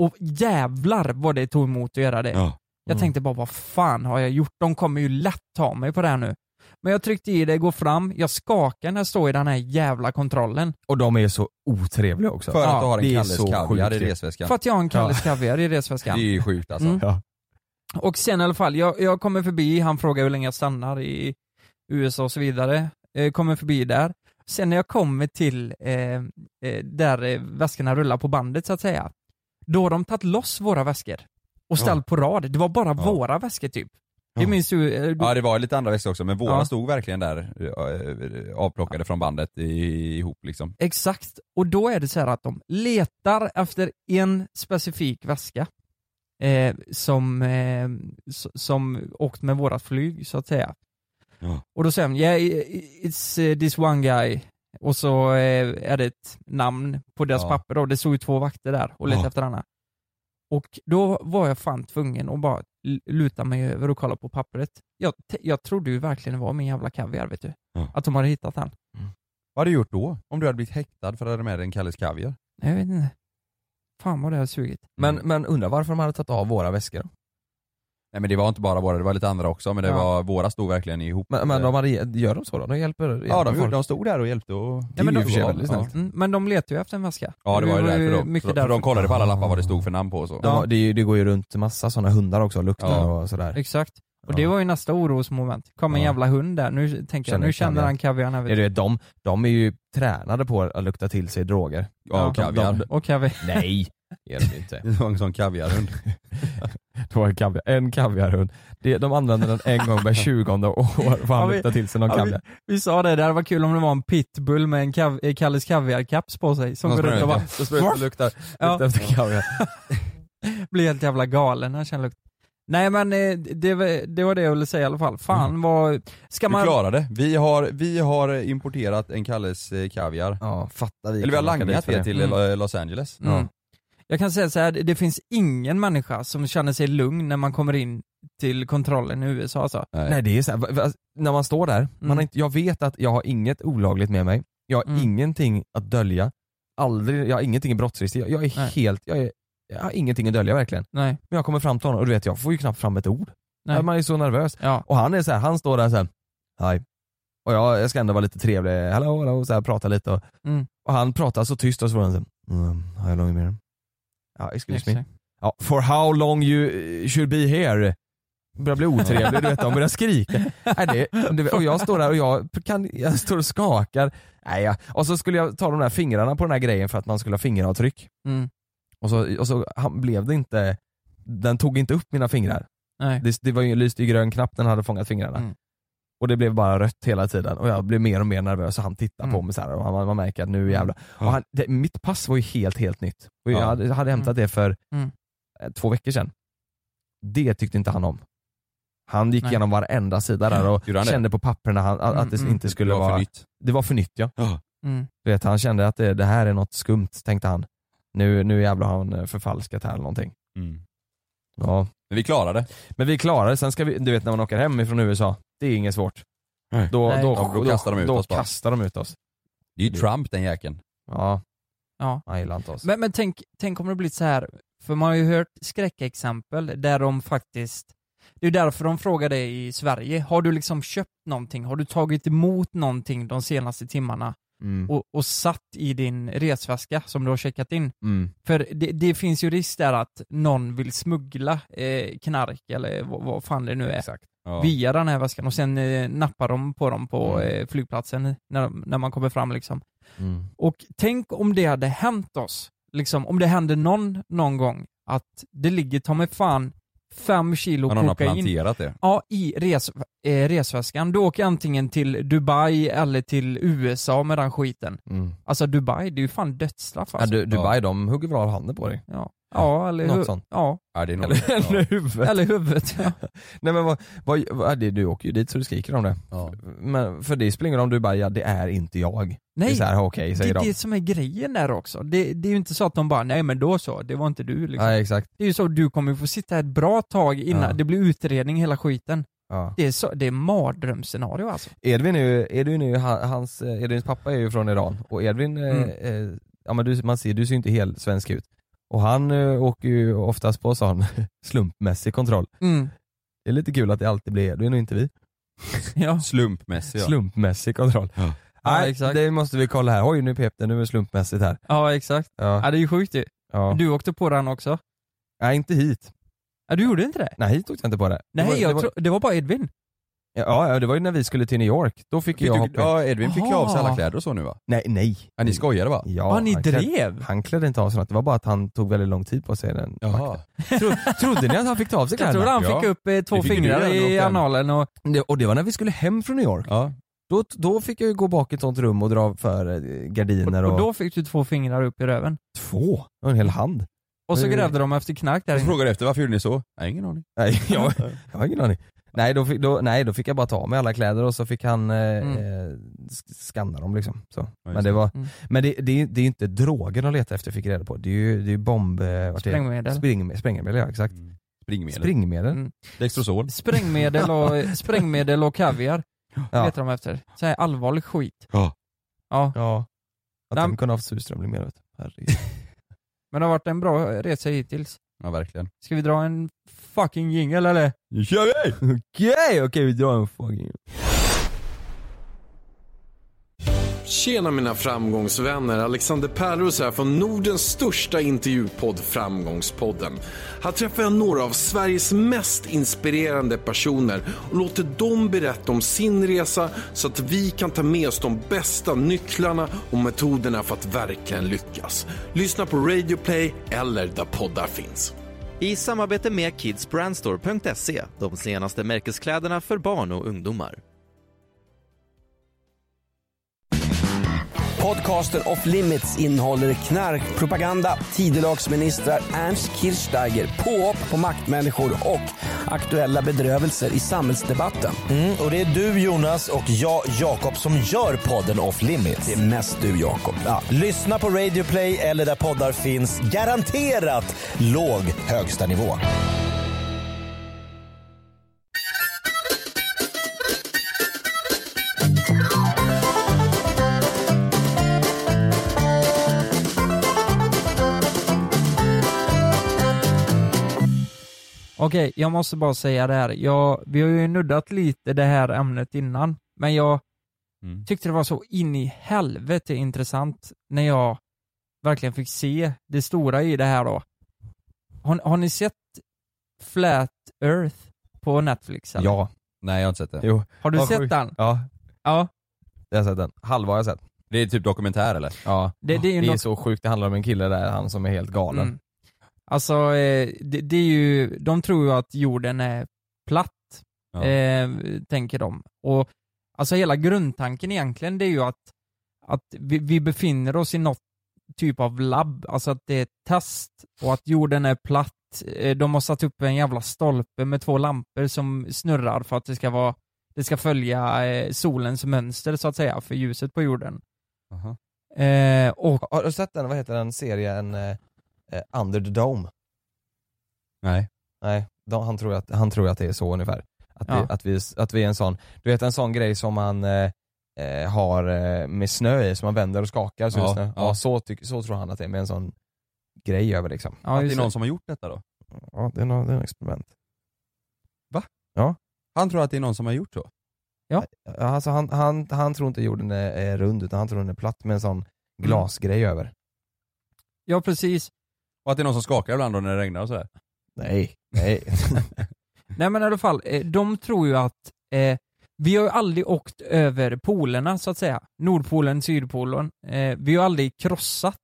Speaker 5: Och jävlar vad det tog emot att göra det.
Speaker 6: Ja.
Speaker 5: Jag
Speaker 4: Mm.
Speaker 5: tänkte bara, vad fan har jag gjort? De kommer ju lätt ta mig på det här nu. Men jag tryckte i det, går fram, jag skakar när jag står i den här jävla kontrollen.
Speaker 4: Och de är så otrevliga också.
Speaker 6: För att
Speaker 5: Ja,
Speaker 6: du har en
Speaker 4: det är
Speaker 6: Kalles
Speaker 4: så
Speaker 6: kaviar i
Speaker 4: sjukt.
Speaker 6: resväskan.
Speaker 5: För att jag har en Kalles Kaviar i
Speaker 6: Det
Speaker 5: resväskan.
Speaker 6: är ju sjukt alltså.
Speaker 5: Mm.
Speaker 4: Ja.
Speaker 5: Och sen i alla fall, jag, jag kommer förbi, han frågar hur länge jag stannar i USA och så vidare. Eh, kommer förbi där. Sen när jag kommer till eh, eh, där eh, väskorna rullar på bandet så att säga, då har de tagit loss våra väskor och ställt på rad. Det var bara
Speaker 6: Ja.
Speaker 5: våra väskor typ. Det
Speaker 6: Ja.
Speaker 5: minns du? eh, du
Speaker 6: Ja det var lite andra växter också, men våra
Speaker 5: Ja.
Speaker 6: stod verkligen där eh, eh, avplockade från bandet i- ihop liksom.
Speaker 5: Exakt, och då är det så här att de letar efter en specifik väska eh, som, eh, s- som åkt med vårat flyg så att säga.
Speaker 6: Ja.
Speaker 5: Och då säger han yeah, i- it's eh, this one guy och så eh, är det ett namn på deras
Speaker 6: Ja.
Speaker 5: papper då, det stod ju två vakter där och letade
Speaker 6: Ja.
Speaker 5: efter denna. Och då var jag fan tvungen att bara l- luta mig över och kolla på pappret. Jag, t- jag trodde ju verkligen det var min jävla kaviar vet du.
Speaker 6: Ja.
Speaker 5: Att de hade hittat han.
Speaker 6: Vad hade du gjort då? Om du hade blivit häktad för att du hade med dig en Kalles Kaviar?
Speaker 5: Nej, Jag vet inte. Fan vad det har sugit.
Speaker 4: Men, men undrar varför de hade tagit av våra väskor då?
Speaker 6: Nej men det var inte bara våra, det var lite andra också men det
Speaker 5: Ja.
Speaker 6: var, våra stod verkligen ihop. eh,
Speaker 4: Men, men de hade, gör de så då? De hjälper, hjälper
Speaker 6: ja, de,
Speaker 4: folk?
Speaker 6: gjorde- de stod där och hjälpte och...
Speaker 5: Ja, men
Speaker 6: Det är
Speaker 5: de-
Speaker 6: i och för sig
Speaker 5: ja,
Speaker 6: väldigt snällt.
Speaker 5: Mm, men de letar ju efter en väska.
Speaker 6: Ja det var ju därför då.
Speaker 5: mycket
Speaker 6: För, för de
Speaker 5: därför.
Speaker 6: kollade på alla lappar vad det stod för namn på och så.
Speaker 4: De har- det, är ju- det går ju runt massa sådana hundar också, luktar
Speaker 6: Ja.
Speaker 4: och sådär.
Speaker 5: Exakt. Och det var ju nästa orosmoment. Kom en
Speaker 4: Ja.
Speaker 5: jävla hund där, nu tänker jag,
Speaker 4: Känner
Speaker 5: nu känner
Speaker 4: kaviar.
Speaker 5: han kaviarn här
Speaker 4: Ja,
Speaker 5: vet
Speaker 4: du
Speaker 5: du.
Speaker 4: vet, de, de är ju tränade på att lukta till sig droger.
Speaker 6: Ja, och
Speaker 5: Ja,
Speaker 6: kaviar.
Speaker 4: de-
Speaker 5: Och kaviar.
Speaker 4: Nej, det är de ju inte.
Speaker 6: Det var en sån kaviarhund.
Speaker 4: Det var en, kaviar, en kaviarhund. Det, de använder den en gång var tjugonde år för
Speaker 5: Ja,
Speaker 4: han
Speaker 5: vi-
Speaker 4: luktar till sig någon
Speaker 5: ja,
Speaker 4: kaviar.
Speaker 5: Vi sa det, det hade varit kul om det var en pitbull med en kav eh, Kalles kaviarkaps på sig som
Speaker 6: Någon
Speaker 5: går
Speaker 6: sprang
Speaker 5: runt och
Speaker 6: ut,
Speaker 5: bara
Speaker 6: ja. Så sprang ut och luktar.
Speaker 5: ja,
Speaker 4: Luktar efter kaviar.
Speaker 5: blir helt jävla galen när han känner lukt. Nej men eh, det, var- det var det jag ville säga i alla fall. Fan vad... Ska
Speaker 6: Mm. Du
Speaker 5: man...
Speaker 6: klarade vi har, vi har importerat en Kalles eh, Kaviar.
Speaker 4: Ja, fattar vi.
Speaker 6: Eller vi har
Speaker 4: kan åka dit
Speaker 6: langat
Speaker 4: för
Speaker 6: det till
Speaker 5: Mm.
Speaker 6: eh, Los Angeles.
Speaker 5: Mm. Jag kan säga så här, det- det finns ingen människa som känner sig lugn när man kommer in till kontrollen i USA alltså.
Speaker 4: Nej det är så här, va- va- när man står där, man
Speaker 5: Mm.
Speaker 4: har inte, jag vet att jag har inget olagligt med mig, jag har
Speaker 5: Mm.
Speaker 4: ingenting att dölja, aldrig, jag har ingenting i brottsregister, jag, jag är
Speaker 5: Nej.
Speaker 4: helt, jag, är, jag har ingenting att dölja verkligen.
Speaker 5: Nej.
Speaker 4: Men jag kommer fram till honom och du vet jag får ju knappt fram ett ord.
Speaker 5: Nej.
Speaker 4: Man är så nervös.
Speaker 5: Ja.
Speaker 4: Och han är så här, han står där så här, hej. Och jag, jag ska ändå vara lite trevlig, hallå, hallå, så här, prata lite och,
Speaker 5: Mm.
Speaker 4: och han pratar så tyst och så får han så här, mm, how long you been? Ja, excuse me.
Speaker 5: Exakt.
Speaker 4: Ja, for how long you eh, should be here. Börjar bli otrevlig, du vet de börjar skrika. Nej, det, du vet, och jag står där och jag, kan, jag står och skakar. Nej, jag, och så skulle jag ta de där fingrarna på den här grejen för att man skulle ha fingeravtryck.
Speaker 5: Mm.
Speaker 4: Och så, och så han, blev det inte, den tog inte upp mina fingrar.
Speaker 5: Nej.
Speaker 4: Det, det var ju lyste ju grön knapp när den hade fångat fingrarna.
Speaker 5: Mm.
Speaker 4: Och det blev bara rött hela tiden och jag blev mer och mer nervös och han tittade på
Speaker 5: Mm.
Speaker 4: mig så här och man, man märker att nu jävlar. Och han, det, mitt pass var ju helt, helt nytt. Och jag
Speaker 6: Ja.
Speaker 4: hade, hade hämtat det för
Speaker 5: Mm.
Speaker 4: eh, två veckor sedan. Det tyckte inte han om. Han gick
Speaker 5: Nej.
Speaker 4: igenom varenda sida där och
Speaker 6: Gjorde han det?
Speaker 4: kände på papperna han, att
Speaker 5: Mm,
Speaker 4: att det
Speaker 5: mm.
Speaker 4: inte skulle
Speaker 6: Det var för
Speaker 4: vara...
Speaker 6: nytt.
Speaker 4: Det var för nytt ja.
Speaker 5: Mm.
Speaker 4: Du vet, han kände att det, det här är något skumt tänkte han. Nu, nu jävlar har han eh, förfalskat här eller någonting. Ja.
Speaker 6: Mm. Men vi klarade det.
Speaker 4: Men vi klarar det, sen ska vi, du vet när man åker hem ifrån USA, det är inget svårt.
Speaker 6: Nej.
Speaker 4: Då,
Speaker 5: Nej.
Speaker 4: Då,
Speaker 6: Ja, då kastar de ut
Speaker 4: då
Speaker 6: oss bara.
Speaker 4: kastar de ut oss.
Speaker 6: Det är ju Trump den jäkeln.
Speaker 4: Ja,
Speaker 5: Ja.
Speaker 4: han gillar inte oss.
Speaker 5: Men, men tänk, tänk om det blivit så här, för man har ju hört skräckexempel där de faktiskt det är ju därför de frågar dig i Sverige, har du liksom köpt någonting? Har du tagit emot någonting de senaste timmarna
Speaker 4: Mm.
Speaker 5: och, och satt i din resväska som du har checkat in?
Speaker 4: Mm.
Speaker 5: För det, det finns ju risk där att någon vill smuggla eh, knark eller vad, vad fan det nu är
Speaker 4: Exakt.
Speaker 6: Ja.
Speaker 5: via den här väskan och sen eh, nappar de på dem på eh, flygplatsen när, de- när man kommer fram liksom.
Speaker 4: Mm.
Speaker 5: Och tänk om det hade hänt oss, liksom om det hände någon någon gång att det ligger ta mig fan fem kilo
Speaker 6: Ja, någon har
Speaker 4: typ.
Speaker 5: kokain
Speaker 6: planterat det.
Speaker 5: ja, i res, eh, resväskan. Du åker antingen till Dubai eller till USA med den skiten.
Speaker 4: Mm.
Speaker 5: Alltså Dubai, det är ju fan dödsstraff
Speaker 4: Ja,
Speaker 5: alltså.
Speaker 4: du, Dubai de hugger väl av handen på dig?
Speaker 5: Ja, ja eller
Speaker 4: Något
Speaker 5: hu-
Speaker 4: sånt.
Speaker 5: Ja,
Speaker 6: Ja, det är nog...
Speaker 4: Eller huvudet.
Speaker 5: eller huvudet. Ja.
Speaker 4: Nej men vad, vad, vad är det, du åker ju dit så du skriker om det.
Speaker 6: Ja.
Speaker 4: Men för det spelar ingen roll om du bara, ja det är inte jag. Det är
Speaker 5: Nej,
Speaker 4: så här, okej
Speaker 5: det
Speaker 4: säger
Speaker 5: är
Speaker 4: de.
Speaker 5: det som är grejen där också. Det, det är ju inte så att de bara, nej men då så, det var inte du liksom.
Speaker 4: Nej exakt.
Speaker 5: Det är ju så, du kommer ju få sitta ett bra tag innan
Speaker 4: Ja.
Speaker 5: det blir utredning hela skiten.
Speaker 4: Ja.
Speaker 5: Det är, så, det är mardrömsscenario alltså.
Speaker 4: Edvin är ju, Edvin är ju han- hans, eh, Edvins pappa är ju från Iran och Edvin, eh,
Speaker 5: Mm.
Speaker 4: eh, ja men du, man ser, du ser ju inte helt svensk ut. Och han eh, åker ju oftast på sån slumpmässig kontroll.
Speaker 5: Mm.
Speaker 4: Det är lite kul att det alltid blir, det är nog inte vi.
Speaker 5: Ja.
Speaker 6: Slumpmässig ja.
Speaker 4: Slumpmässig kontroll.
Speaker 6: Ja.
Speaker 5: Ja,
Speaker 4: Nej,
Speaker 5: exakt.
Speaker 4: det måste vi kolla här. Oj nu pep det, nu är det slumpmässigt här.
Speaker 5: ja, exakt.
Speaker 4: Ja,
Speaker 5: Ja, det är ju sjukt ju.
Speaker 4: ja.
Speaker 5: Du åkte på den också.
Speaker 4: Nej inte hit.
Speaker 5: Ja, du gjorde inte det?
Speaker 4: Nej hit åkte jag inte på det.
Speaker 5: Nej,
Speaker 4: det var,
Speaker 5: jag
Speaker 4: det var,
Speaker 5: tro- det var bara Edvin.
Speaker 4: Ja, ja, det var ju när vi skulle till New York, då fick,
Speaker 6: Fick
Speaker 4: jag
Speaker 6: du,
Speaker 4: hoppa in.
Speaker 6: ja, Edvin fick ju av sig
Speaker 5: Aha.
Speaker 6: alla kläder och så nu va?
Speaker 4: Nej, nej.
Speaker 6: Ja, ni skojade va?
Speaker 4: Ja,
Speaker 5: Ja, ni
Speaker 4: han klädde-
Speaker 5: drev.
Speaker 4: Han klädde inte av sig något, det var bara att han tog väldigt lång tid på sig den vakten. Tro, Trodde ni att han fick ta av sig
Speaker 5: Jag tror
Speaker 4: kläderna?
Speaker 5: han
Speaker 6: Ja.
Speaker 5: fick upp eh, två
Speaker 6: Det fick du
Speaker 5: fingrar
Speaker 6: redan åt
Speaker 5: i
Speaker 6: den.
Speaker 5: analen och...
Speaker 4: Det, och det var när vi skulle hem från New York.
Speaker 6: Ja.
Speaker 4: Då, då fick jag ju gå bak i ett sånt rum och dra för eh, gardiner och...
Speaker 5: och då fick du två fingrar upp i röven.
Speaker 4: två? Och en hel hand.
Speaker 5: Och så
Speaker 4: Mm.
Speaker 5: grävde de efter knark där
Speaker 6: Jag
Speaker 5: inne.
Speaker 6: frågade efter varför gjorde ni så? Nej, ingen aning.
Speaker 4: Nej, jag, jag har ingen aning. Nej då, fick, då, nej, då fick jag bara ta av mig alla kläder och så fick han eh,
Speaker 5: Mm.
Speaker 4: eh, sk- skanna dem liksom. Så.
Speaker 6: just
Speaker 4: Men, det, var,
Speaker 5: Mm.
Speaker 4: men det, det, är- det är inte droger de letar efter fick jag reda på, det är ju, det är ju bomb... eh, vart är det?
Speaker 5: Sprängmedel.
Speaker 4: Sprängmedel. Sprängmedel ja, exakt.
Speaker 6: Mm. Springmedel.
Speaker 4: Sprängmedel.
Speaker 5: Mm.
Speaker 6: Dextrosol.
Speaker 5: Sprängmedel och, sprängmedel och kaviar
Speaker 4: Ja.
Speaker 5: letar de efter. Så här allvarlig skit.
Speaker 6: Ja.
Speaker 5: Ja,
Speaker 4: Ja. Att
Speaker 5: Nej,
Speaker 4: de
Speaker 5: men-
Speaker 4: kunde ha haft surströmming med vet du. Herregud.
Speaker 5: men det har varit en bra resa hittills.
Speaker 6: Ja, verkligen.
Speaker 5: Ska vi dra en fucking jingle eller?
Speaker 6: Nu kör vi!
Speaker 4: Okej, okej vi drar en fucking...
Speaker 8: Tjena mina framgångsvänner, Alexander Pärlros här från Nordens största intervjupodd Framgångspodden. Här träffar jag några av Sveriges mest inspirerande personer och låter dem berätta om sin resa så att vi kan ta med oss de bästa nycklarna och metoderna för att verkligen lyckas. Lyssna på Radio Play eller där poddar finns.
Speaker 9: I samarbete med kidsbrandstore.se, de senaste märkeskläderna för barn och ungdomar.
Speaker 10: Podcasten Off Limits innehåller knarkpropaganda, tidelagsministrar, Ernst Kirchsteiger, påhopp på maktmänniskor och aktuella bedrövelser i samhällsdebatten.
Speaker 1: Mm, och det är du Jonas och jag Jakob som gör podden Off Limits.
Speaker 10: Det är mest du Jakob.
Speaker 1: Ja, lyssna på Radio Play eller där poddar finns. Garanterat låg högsta nivå.
Speaker 5: Okej, jag måste bara säga det här. Jag, vi har ju nuddat lite det här ämnet innan, men jag
Speaker 6: Mm.
Speaker 5: tyckte det var så in i helvete intressant när jag verkligen fick se det stora i det här då. Har, har ni sett Flat Earth på Netflix? Eller?
Speaker 4: Ja,
Speaker 6: Nej, jag har inte sett det.
Speaker 4: Jo.
Speaker 5: Har du
Speaker 4: Vad
Speaker 5: sett
Speaker 4: sjukt.
Speaker 5: den?
Speaker 4: ja.
Speaker 5: Ja.
Speaker 4: Jag har sett den. Halva har jag sett.
Speaker 6: Det är typ dokumentär eller?
Speaker 4: Ja.
Speaker 5: Det, det är ju något
Speaker 4: så sjukt, det handlar om en kille där, han som är helt galen.
Speaker 5: Mm. Alltså, eh, det, det är ju, de tror ju att jorden är platt,
Speaker 6: Ja.
Speaker 5: eh, tänker de. Och alltså hela grundtanken egentligen, det är ju att, att vi, vi befinner oss i något typ av labb, alltså att det är ett test och att jorden är platt. Eh, De har satt upp en jävla stolpe med två lampor som snurrar för att det ska vara, det ska följa eh, solens mönster så att säga, för ljuset på jorden.
Speaker 6: Aha.
Speaker 5: Eh, och
Speaker 4: Har du sett den, vad heter den serien, eh, eh, Under the Dome?
Speaker 6: Nej.
Speaker 4: Nej, de, han, tror att, han tror att det är så ungefär. Att,
Speaker 5: Ja.
Speaker 4: vi, att, vi, att vi är en sån, du vet en sån grej som man eh, eh, har eh, med snö i, som man vänder och skakar så
Speaker 6: Ja,
Speaker 4: ja, snö. Ja,
Speaker 6: ja.
Speaker 4: så, tyck- så tror han att det är med en sån grej över liksom.
Speaker 5: ja,
Speaker 6: att det
Speaker 5: just
Speaker 6: är
Speaker 5: det.
Speaker 6: någon som har gjort detta då?
Speaker 4: Ja, det är något det är något experiment.
Speaker 6: Han tror att det är någon som har gjort så?
Speaker 4: Ja, Alltså, han, han, han tror inte jorden är, är rund utan han tror den är platt med en sån
Speaker 5: Mm.
Speaker 4: glasgrej över.
Speaker 5: ja, precis.
Speaker 6: Och att det är någon som skakar ibland då när det regnar och sådär?
Speaker 4: Nej, nej.
Speaker 5: Nej men i alla fall, eh, de tror ju att eh, vi har ju aldrig åkt över polerna så att säga. Nordpolen, sydpolen. Eh, vi har aldrig krossat,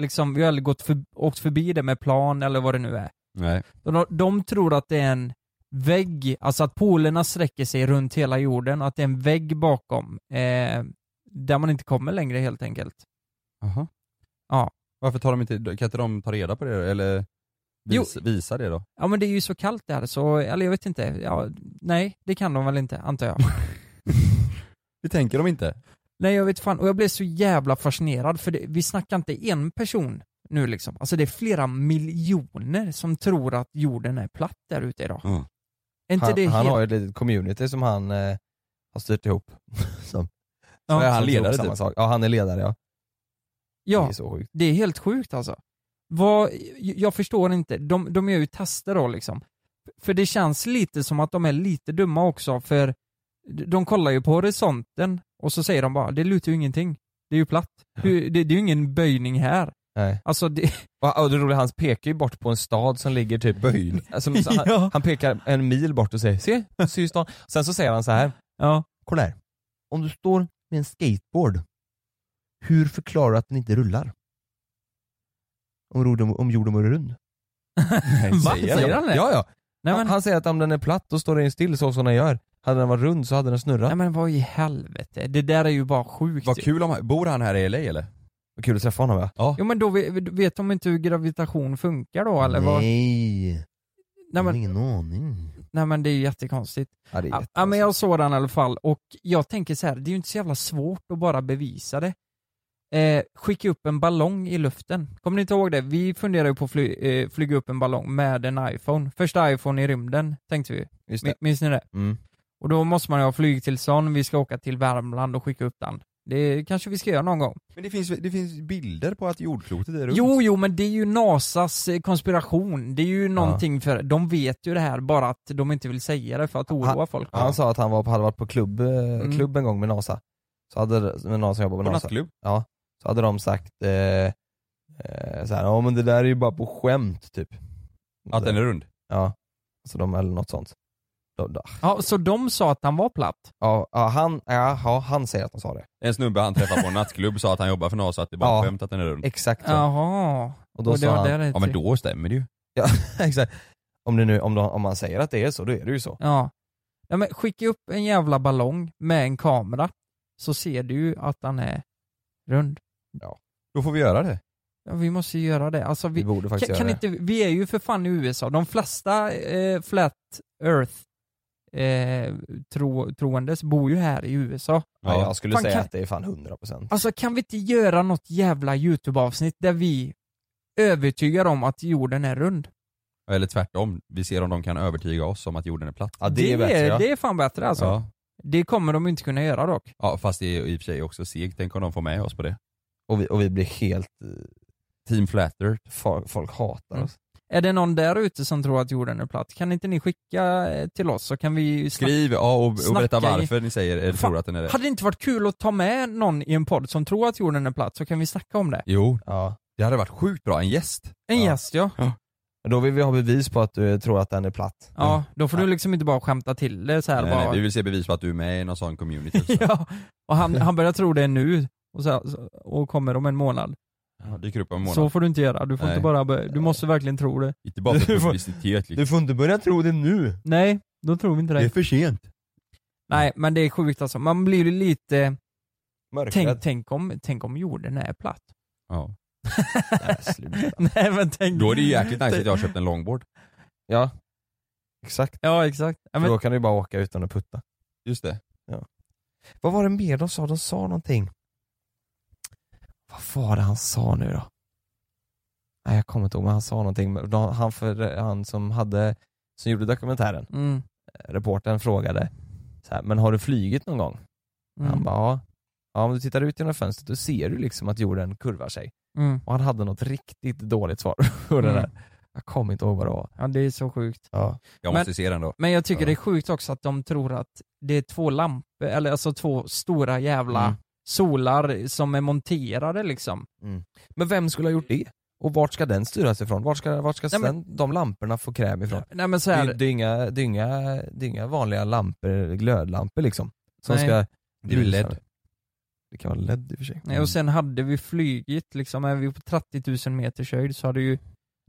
Speaker 5: liksom, vi har aldrig gått för, åkt förbi det med plan eller vad det nu är.
Speaker 6: Nej.
Speaker 5: De, de tror att det är en vägg, alltså att polerna sträcker sig runt hela jorden och att det är en vägg bakom eh, där man inte kommer längre helt enkelt.
Speaker 6: Aha.
Speaker 5: Ja.
Speaker 6: Varför tar de inte, kan inte de ta reda på det då? eller vis, visa det då?
Speaker 5: Ja men det är ju så kallt där så, eller jag vet inte, ja, nej det kan de väl inte antar jag.
Speaker 6: Det tänker de inte.
Speaker 5: Nej jag vet fan, och jag blev så jävla fascinerad för det, vi snackar inte en person nu liksom. Alltså det är flera miljoner som tror att jorden är platt där ute idag.
Speaker 6: Mm.
Speaker 5: Är inte det
Speaker 4: han, han
Speaker 5: helt...
Speaker 4: har ju ett litet community som han eh, har styrt ihop. som,
Speaker 5: Ja.
Speaker 6: är han
Speaker 4: som tror på
Speaker 6: ledare
Speaker 4: samma
Speaker 6: typ?
Speaker 4: sak. Ja han är ledare ja. Det
Speaker 5: ja,
Speaker 4: är så sjukt.
Speaker 5: det är helt sjukt alltså. Vad, jag förstår inte, de, de gör ju tester då liksom. För det känns lite som att de är lite dumma också för de kollar ju på horisonten och så säger de bara det lutar ju ingenting. Det är ju platt. Hur, det, det är ju ingen böjning här.
Speaker 4: Nej.
Speaker 5: Alltså det,
Speaker 4: Och, och det roliga, han pekar ju bort på en stad som ligger typ böjd. Alltså, så han,
Speaker 5: Ja.
Speaker 4: han pekar en mil bort och säger se, ser ju stan. Sen så säger han så här.
Speaker 5: ja.
Speaker 4: kolla här. Om du står med en skateboard, hur förklarar du att den inte rullar? Om, jorden- om jorden vore rund.
Speaker 5: Va? Säger han det?
Speaker 4: Ja, ja.
Speaker 5: Nej,
Speaker 4: Han,
Speaker 5: men,
Speaker 4: han säger att om den är platt då står den ju still så som den gör. Hade den varit rund så hade den snurrat.
Speaker 5: nej men vad i helvete, det där är ju bara sjukt
Speaker 6: Vad
Speaker 5: ju.
Speaker 6: kul om han, bor han här i LA eller?
Speaker 4: Vad kul att träffa honom va?
Speaker 5: Jo men då vet, vet de inte hur gravitation funkar då eller vad?
Speaker 4: Nej,
Speaker 5: Nej men,
Speaker 4: ingen aning.
Speaker 5: Nej men det är ju jättekonstigt.
Speaker 4: Ja, det är
Speaker 5: Ja,
Speaker 4: jätte-
Speaker 5: ja, men jag såg den i alla fall och jag tänker så här, det är ju inte så jävla svårt att bara bevisa det. Eh, skicka upp en ballong i luften. Kommer ni inte ihåg det? Vi funderade ju på att fly, eh, flyga upp en ballong med en iPhone. Första iPhone i rymden, tänkte vi.
Speaker 4: Just
Speaker 5: Mi-
Speaker 4: det.
Speaker 5: Minns ni det?
Speaker 4: Mm.
Speaker 5: Och då måste man ju ha flygtillstånd, vi ska åka till Värmland och skicka upp den. Det kanske vi ska göra någon gång.
Speaker 6: Men det finns, det finns bilder på att jordklotet är runt.
Speaker 5: Jo, jo, men det är ju NASAs eh, konspiration. Det är ju någonting för, de vet ju det här bara att de inte vill säga det för att oroa folk.
Speaker 4: Han sa att han var, på- hade varit på klubb, eh,
Speaker 5: Mm.
Speaker 4: klubb en gång med NASA. Så hade, med någon som jobbade på
Speaker 6: På
Speaker 4: NASA.
Speaker 6: nattklubb.
Speaker 4: Så hade de sagt eh, eh, så här, ja men det där är ju bara på skämt typ.
Speaker 6: Att den är rund.
Speaker 4: Ja, så de, eller något sånt. De, de,
Speaker 5: Ja, så de sa att han var platt?
Speaker 4: ja, ja, han, ja, ja, han säger att de sa det.
Speaker 6: En snubbe han träffade på en nattklubb sa att han jobbar för NASA, att det är bara
Speaker 4: Ja.
Speaker 6: skämt att den är rund.
Speaker 4: Exakt så.
Speaker 5: Jaha.
Speaker 4: Och då
Speaker 5: och det
Speaker 4: sa
Speaker 5: var
Speaker 4: han,
Speaker 5: det det
Speaker 6: Ja men då stämmer det ju.
Speaker 4: exakt. Om, det nu, om, de, om man säger att det är så, då är det ju så.
Speaker 5: Ja. ja men skicka upp en jävla ballong med en kamera så ser du ju att han är rund.
Speaker 6: Då får vi göra det.
Speaker 5: Ja, vi måste ju göra det. Alltså,
Speaker 4: Vi
Speaker 5: vi,
Speaker 4: borde faktiskt
Speaker 5: kan,
Speaker 4: göra
Speaker 5: kan
Speaker 4: det.
Speaker 5: inte, vi är ju för fan i USA. De flesta eh, flat earth eh, tro, troendes bor ju här i USA.
Speaker 4: Ja, jag skulle
Speaker 5: Fan,
Speaker 4: säga
Speaker 5: kan-
Speaker 4: att det är fan 100%.
Speaker 5: Alltså kan vi inte göra något jävla YouTube-avsnitt där vi övertygar om att jorden är rund?
Speaker 6: Eller tvärtom, vi ser om de kan övertyga oss om att jorden är platt.
Speaker 4: Ja, det, är bättre ja.
Speaker 5: det är fan bättre alltså.
Speaker 6: Ja.
Speaker 5: Det kommer de inte kunna göra dock.
Speaker 6: ja, fast det är i och för sig också segt. Tänk om de får med oss på det.
Speaker 4: Och, vi, och vi blir helt, eh,
Speaker 6: Team Flat Earth.
Speaker 4: folk, folk hatar
Speaker 5: Mm.
Speaker 4: oss.
Speaker 5: Är det någon där ute som tror att jorden är platt? Kan inte ni skicka eh, till oss så kan vi snack-
Speaker 6: Skriv ja, och, och
Speaker 5: Snacka
Speaker 6: berätta
Speaker 5: i-
Speaker 6: varför ni säger eller
Speaker 5: Fan,
Speaker 6: tror att den är det.
Speaker 5: Hade det inte varit kul att ta med någon i en podd som tror att jorden är platt så kan vi snacka om det?
Speaker 6: Jo,
Speaker 4: Ja.
Speaker 6: det hade varit sjukt bra. En gäst.
Speaker 5: En
Speaker 4: Ja.
Speaker 5: gäst ja.
Speaker 4: Men Då vill vi ha bevis på att du tror att den är platt.
Speaker 5: Ja, då får du liksom inte bara skämta till det så här
Speaker 6: Nej,
Speaker 5: bara.
Speaker 6: nej, vi vill se bevis på att du är med i någon sån community. Så.
Speaker 5: ja. Och han, han börjar tro det nu och, så och kommer om en månad.
Speaker 6: ja. Dyker upp om en månad.
Speaker 5: Så får du inte göra. Du får
Speaker 6: Nej.
Speaker 5: inte bara börja, du måste verkligen tro det.
Speaker 6: Inte bara för
Speaker 4: Du får-
Speaker 6: publicitet. Liksom.
Speaker 4: Du får inte börja tro det nu.
Speaker 5: Nej, då tror vi inte det.
Speaker 6: för sent.
Speaker 5: Nej, men det är sjukt alltså. Man blir ju lite, tänk,
Speaker 4: Mörkret.
Speaker 5: tänk, om, tänk om jorden är platt.
Speaker 6: Ja.
Speaker 5: Nej men tänk.
Speaker 6: Då är det ju jäkligt nice att jag har köpt en longboard.
Speaker 4: Ja. Exakt.
Speaker 5: Ja exakt. Ja,
Speaker 4: För
Speaker 5: men,
Speaker 4: Då kan du ju bara åka utan att putta.
Speaker 6: Just det.
Speaker 4: Vad var det mer de sa? De sa någonting. Vad var det han sa nu då? Nej jag kommer inte ihåg men han sa någonting. Men de- Han, för, han som hade, som gjorde dokumentären,
Speaker 5: mm,
Speaker 4: eh, reportern frågade så här, men har du flygit någon gång? Han
Speaker 5: mm,
Speaker 4: bara ja. Ja om du tittar ut genom fönstret då ser du liksom att jorden kurvar sig.
Speaker 5: mm.
Speaker 4: Och han hade något riktigt dåligt svar på det
Speaker 5: Mm.
Speaker 4: där. Jag kommer inte ihåg vad det var.
Speaker 5: ja det är så sjukt.
Speaker 4: Ja.
Speaker 6: Jag
Speaker 5: Men-
Speaker 6: måste se den då.
Speaker 5: Men jag tycker
Speaker 6: Ja.
Speaker 5: det är sjukt också att de tror att det är två lampor, eller alltså två stora jävla
Speaker 4: Mm.
Speaker 5: solar som är monterade liksom.
Speaker 4: Men vem skulle ha gjort det? Och vart ska den styras ifrån? Vart ska, vart ska
Speaker 5: Nej, men-
Speaker 4: sen de lamporna få kräm ifrån?
Speaker 5: Nej men så
Speaker 4: Det
Speaker 5: här,
Speaker 4: är, det, är inga, det, är inga, det är inga vanliga lampor, glödlampor liksom. Som
Speaker 5: Nej.
Speaker 4: ska...
Speaker 6: Det
Speaker 5: Mm.
Speaker 6: är väl LED.
Speaker 4: Det kan vara LED i och för sig.
Speaker 6: Mm.
Speaker 5: Nej, och sen hade vi flygit liksom, är vi på 30 000 meters höjd så hade ju,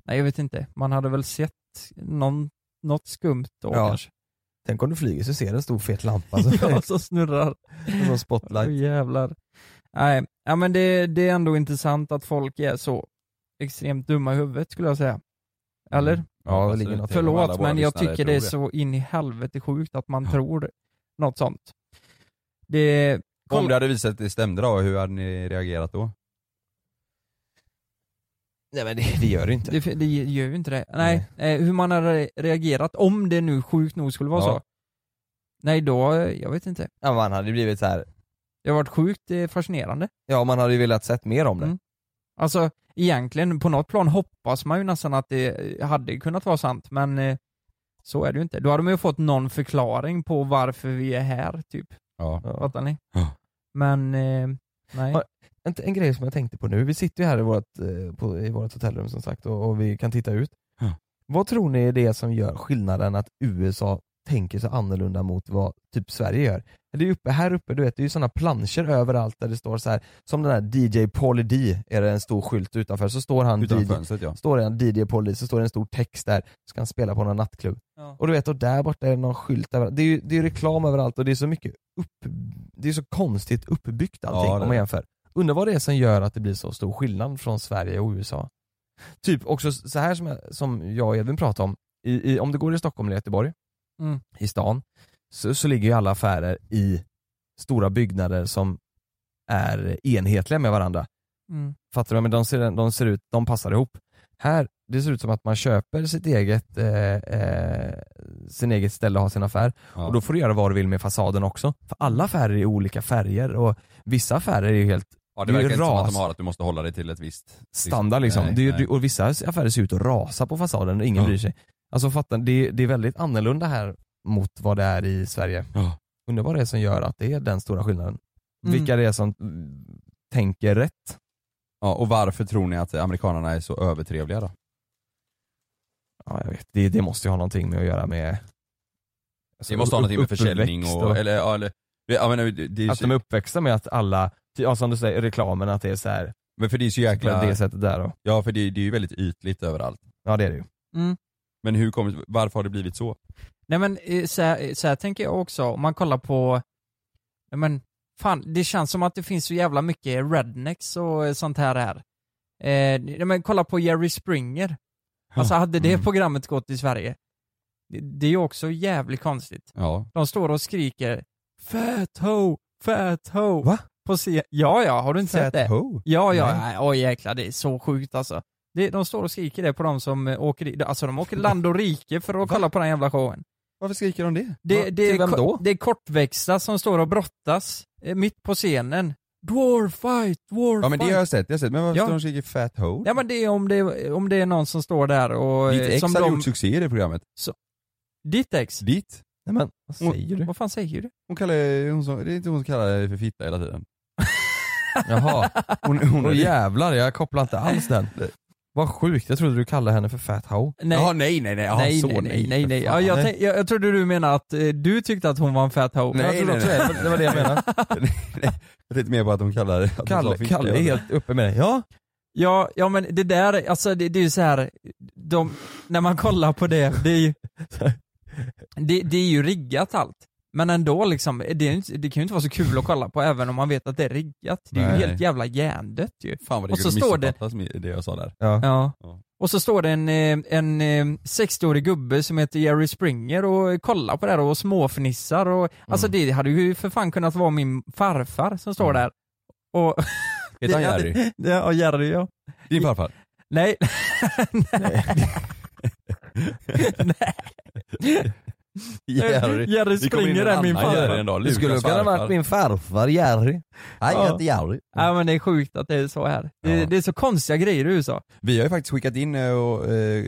Speaker 5: nej jag vet inte, man hade väl sett någon, något skumt då
Speaker 4: Ja.
Speaker 5: kanske.
Speaker 4: Tänk om du flyger så ser du en stor fet lampa som,
Speaker 5: ja, så snurrar.
Speaker 4: som
Speaker 5: Åh
Speaker 4: spotlight.
Speaker 5: jävlar. Nej, ja, men det, det är ändå intressant att folk är så extremt dumma i huvudet skulle jag säga. Eller?
Speaker 4: Ja,
Speaker 6: alltså,
Speaker 4: ligger något-
Speaker 6: tänk om alla
Speaker 5: Förlåt
Speaker 6: våra
Speaker 5: men jag
Speaker 6: lyssnare
Speaker 5: tycker det är
Speaker 6: tror
Speaker 5: så in i helvete sjukt att man tror något sånt. Det,
Speaker 6: Om det hade visat att det stämde då, hur hade ni reagerat då?
Speaker 4: Nej men det, det gör det inte.
Speaker 5: det, det gör ju inte det. Nej, eh, hur man hade reagerat om det nu sjukt nog skulle vara
Speaker 4: Ja.
Speaker 5: så. Nej då, eh, jag vet inte.
Speaker 4: Ja, man hade ju blivit så här.
Speaker 5: Det har varit sjukt eh, fascinerande.
Speaker 4: ja man hade ju velat sett mer om det.
Speaker 5: Mm. Alltså egentligen, på något plan hoppas man ju nästan att det eh, hade kunnat vara sant men eh, så är det ju inte. Då hade man ju fått någon förklaring på varför vi är här, typ.
Speaker 6: Ja.
Speaker 4: Ja.
Speaker 5: Fattar ni?
Speaker 6: Ja.
Speaker 5: Men, eh, nej.
Speaker 4: Har- En, en grej som jag tänkte på nu, vi sitter ju här i vårt, eh, på, i vårt hotellrum som sagt och, och vi kan titta ut.
Speaker 6: Ja.
Speaker 4: Vad tror ni är det som gör skillnaden att USA tänker så annorlunda mot vad typ Sverige gör? Det är uppe, här uppe, du vet, det är ju sådana planscher överallt där det står så här som den här DJ Pauly D är det en stor skylt utanför, så står han
Speaker 6: Utan
Speaker 4: DJ,
Speaker 6: fönstret ja.
Speaker 4: står det en DJ Pauly så står det en stor text där, så ska han spela på någon nattklubb.
Speaker 5: Ja.
Speaker 4: Och du vet, och där borta är det någon skylt överallt. Det är ju det är ju reklam överallt och det är så mycket upp, det är så konstigt uppbyggt allting
Speaker 6: Ja, det
Speaker 4: om
Speaker 6: är
Speaker 4: man jämför. Undrar vad det är som gör att det blir så stor skillnad från Sverige och USA. Typ också så här som jag, som jag och Edvin pratade om, I, i, om det går i Stockholm eller Göteborg
Speaker 5: Mm.
Speaker 4: i stan, så, så ligger ju alla affärer i stora byggnader som är enhetliga med varandra.
Speaker 5: Mm.
Speaker 4: Fattar du? Men de ser, de ser ut, de passar ihop. Här, det ser ut som att man köper sitt eget, eh, eh, sin eget ställe och har sin affär. Och då får du göra vad du vill med fasaden också. För alla affärer är olika färger och vissa affärer är ju helt
Speaker 6: Ja,
Speaker 4: det
Speaker 6: det
Speaker 4: är ju
Speaker 6: verkar inte som
Speaker 4: ras.
Speaker 6: att de har att du måste hålla dig till ett visst...
Speaker 4: standard liksom.
Speaker 6: Nej,
Speaker 4: det är, ju-
Speaker 6: nej.
Speaker 4: Och vissa affärer ser ut att rasa på fasaden och ingen
Speaker 6: Ja.
Speaker 4: bryr sig. Alltså fattar, det, det är väldigt annorlunda här mot vad det är i Sverige.
Speaker 6: Ja.
Speaker 4: Undrar vad det är som gör att det är den stora skillnaden. Vilka det är som mm, tänker rätt.
Speaker 6: Ja, och varför tror ni att amerikanerna är så övertrevliga då?
Speaker 4: Ja, jag vet. Det, det måste ju ha någonting med att göra med alltså,
Speaker 6: Det måste ha någonting med
Speaker 4: uppväxt
Speaker 6: försäljning och, eller, ja, eller ja, men, det, det är
Speaker 4: Att
Speaker 6: så,
Speaker 4: de är uppväxta med att alla, ja, som du säger, reklamen att det är så här,
Speaker 6: men för det är så
Speaker 4: på
Speaker 6: jäkla,
Speaker 4: det sättet där och,
Speaker 6: ja för det, det är ju väldigt ytligt överallt.
Speaker 4: ja det är det ju.
Speaker 6: Men hur kommer, varför har det blivit så?
Speaker 5: Nej men eh, så här, så här tänker jag också, om man kollar på, nej men fan, det känns som att det finns så jävla mycket rednecks och eh, sånt här här. Eh, nej men kolla på Jerry Springer. Alltså hade det programmet gått i Sverige, det, det är ju också jävligt konstigt.
Speaker 6: Ja,
Speaker 5: De står och skriker 'Fat ho, fat ho'
Speaker 4: Va?
Speaker 5: På scen. Ja, ja, har du inte sett det?
Speaker 6: ho.
Speaker 5: Ja, ja, nej. oj jäklar, det är så sjukt alltså. Det, de står och skriker det på de som eh, åker dit, alltså de åker land och rike för att kolla på den jävla showen.
Speaker 6: Varför skriker de det?
Speaker 5: Det, det, är
Speaker 4: vem
Speaker 5: ko-
Speaker 4: då?
Speaker 5: det är kortväxta som står och brottas eh, mitt på scenen. Dwarf fight, dwarf
Speaker 6: Ja men det
Speaker 5: fight.
Speaker 6: har jag sett, det har jag sett. Men varför
Speaker 5: Ja.
Speaker 6: står de och skriker fat ho?
Speaker 5: Ja men det är om det, om det är någon som står där och...
Speaker 6: Ditt
Speaker 5: eh,
Speaker 6: ex
Speaker 5: som
Speaker 6: hade
Speaker 5: de-
Speaker 6: gjort succé i det programmet.
Speaker 5: Ditt ex?
Speaker 6: Ditt?
Speaker 4: Nej men, vad säger du?
Speaker 5: Vad fan säger du?
Speaker 6: Hon kallar, hon som, det är inte hon som kallar dig för fitta hela tiden.
Speaker 4: Jaha,
Speaker 6: Hon, hon,
Speaker 4: åh jävlar jag kopplar inte alls den. Vad sjukt, jag trodde du kallade henne för Fat Ho.
Speaker 5: Nej.
Speaker 6: Jaha, nej nej nej, Jaha,
Speaker 5: nej,
Speaker 6: så
Speaker 5: nej, nej, nej, nej.
Speaker 6: För fan,
Speaker 5: Ja, jag, tänk, jag, jag trodde du menade att eh, du tyckte att hon var en fat hoe.
Speaker 6: Nej,
Speaker 5: Jag trodde
Speaker 6: nej,
Speaker 5: också
Speaker 6: nej.
Speaker 5: det.
Speaker 4: Det var det jag menade.
Speaker 6: Jag tänkte mer på att de kallar att de sa
Speaker 4: Kalle,
Speaker 6: fitta
Speaker 4: Kalle är
Speaker 6: hela
Speaker 4: helt uppe med det. Ja,
Speaker 5: Ja, ja men det där, alltså det, det är ju så här, de, när man kollar på det, det är ju, det, det är ju riggat allt. Men ändå liksom, det, är ju inte, det kan ju inte vara så kul att kolla på även om man vet att det är riggat. Det är ju
Speaker 6: Nej.
Speaker 5: helt jävla hjärndött ju.
Speaker 6: Fan vad det
Speaker 5: Och så
Speaker 6: kunde
Speaker 5: står det-
Speaker 6: missuppfattas med det jag sa där.
Speaker 5: Ja.
Speaker 6: Ja.
Speaker 5: Och så står det en, eh, en eh, 60-årig gubbe som heter Jerry Springer och kollar på det här och småfnissar och, alltså det hade ju för fan kunnat vara min farfar som står där. Och,
Speaker 6: Heter han Jerry?
Speaker 5: ja, Jerry ja.
Speaker 6: Din farfar?
Speaker 5: Nej. Nej. Jerry
Speaker 6: Det kommer in
Speaker 5: Springer
Speaker 6: en
Speaker 5: är min
Speaker 6: annan Jerry
Speaker 5: farfar.
Speaker 6: en dag,
Speaker 4: det
Speaker 6: Lukas
Speaker 4: skulle kunna
Speaker 6: farfar.
Speaker 4: varit min farfar Jerry. Nej,
Speaker 5: Ja.
Speaker 4: jag heter Jerry.
Speaker 5: Ja men det är sjukt att det är så här. Det,
Speaker 6: Ja.
Speaker 5: det är så konstiga grejer i USA.
Speaker 6: Vi har ju faktiskt skickat in, eh, och, eh,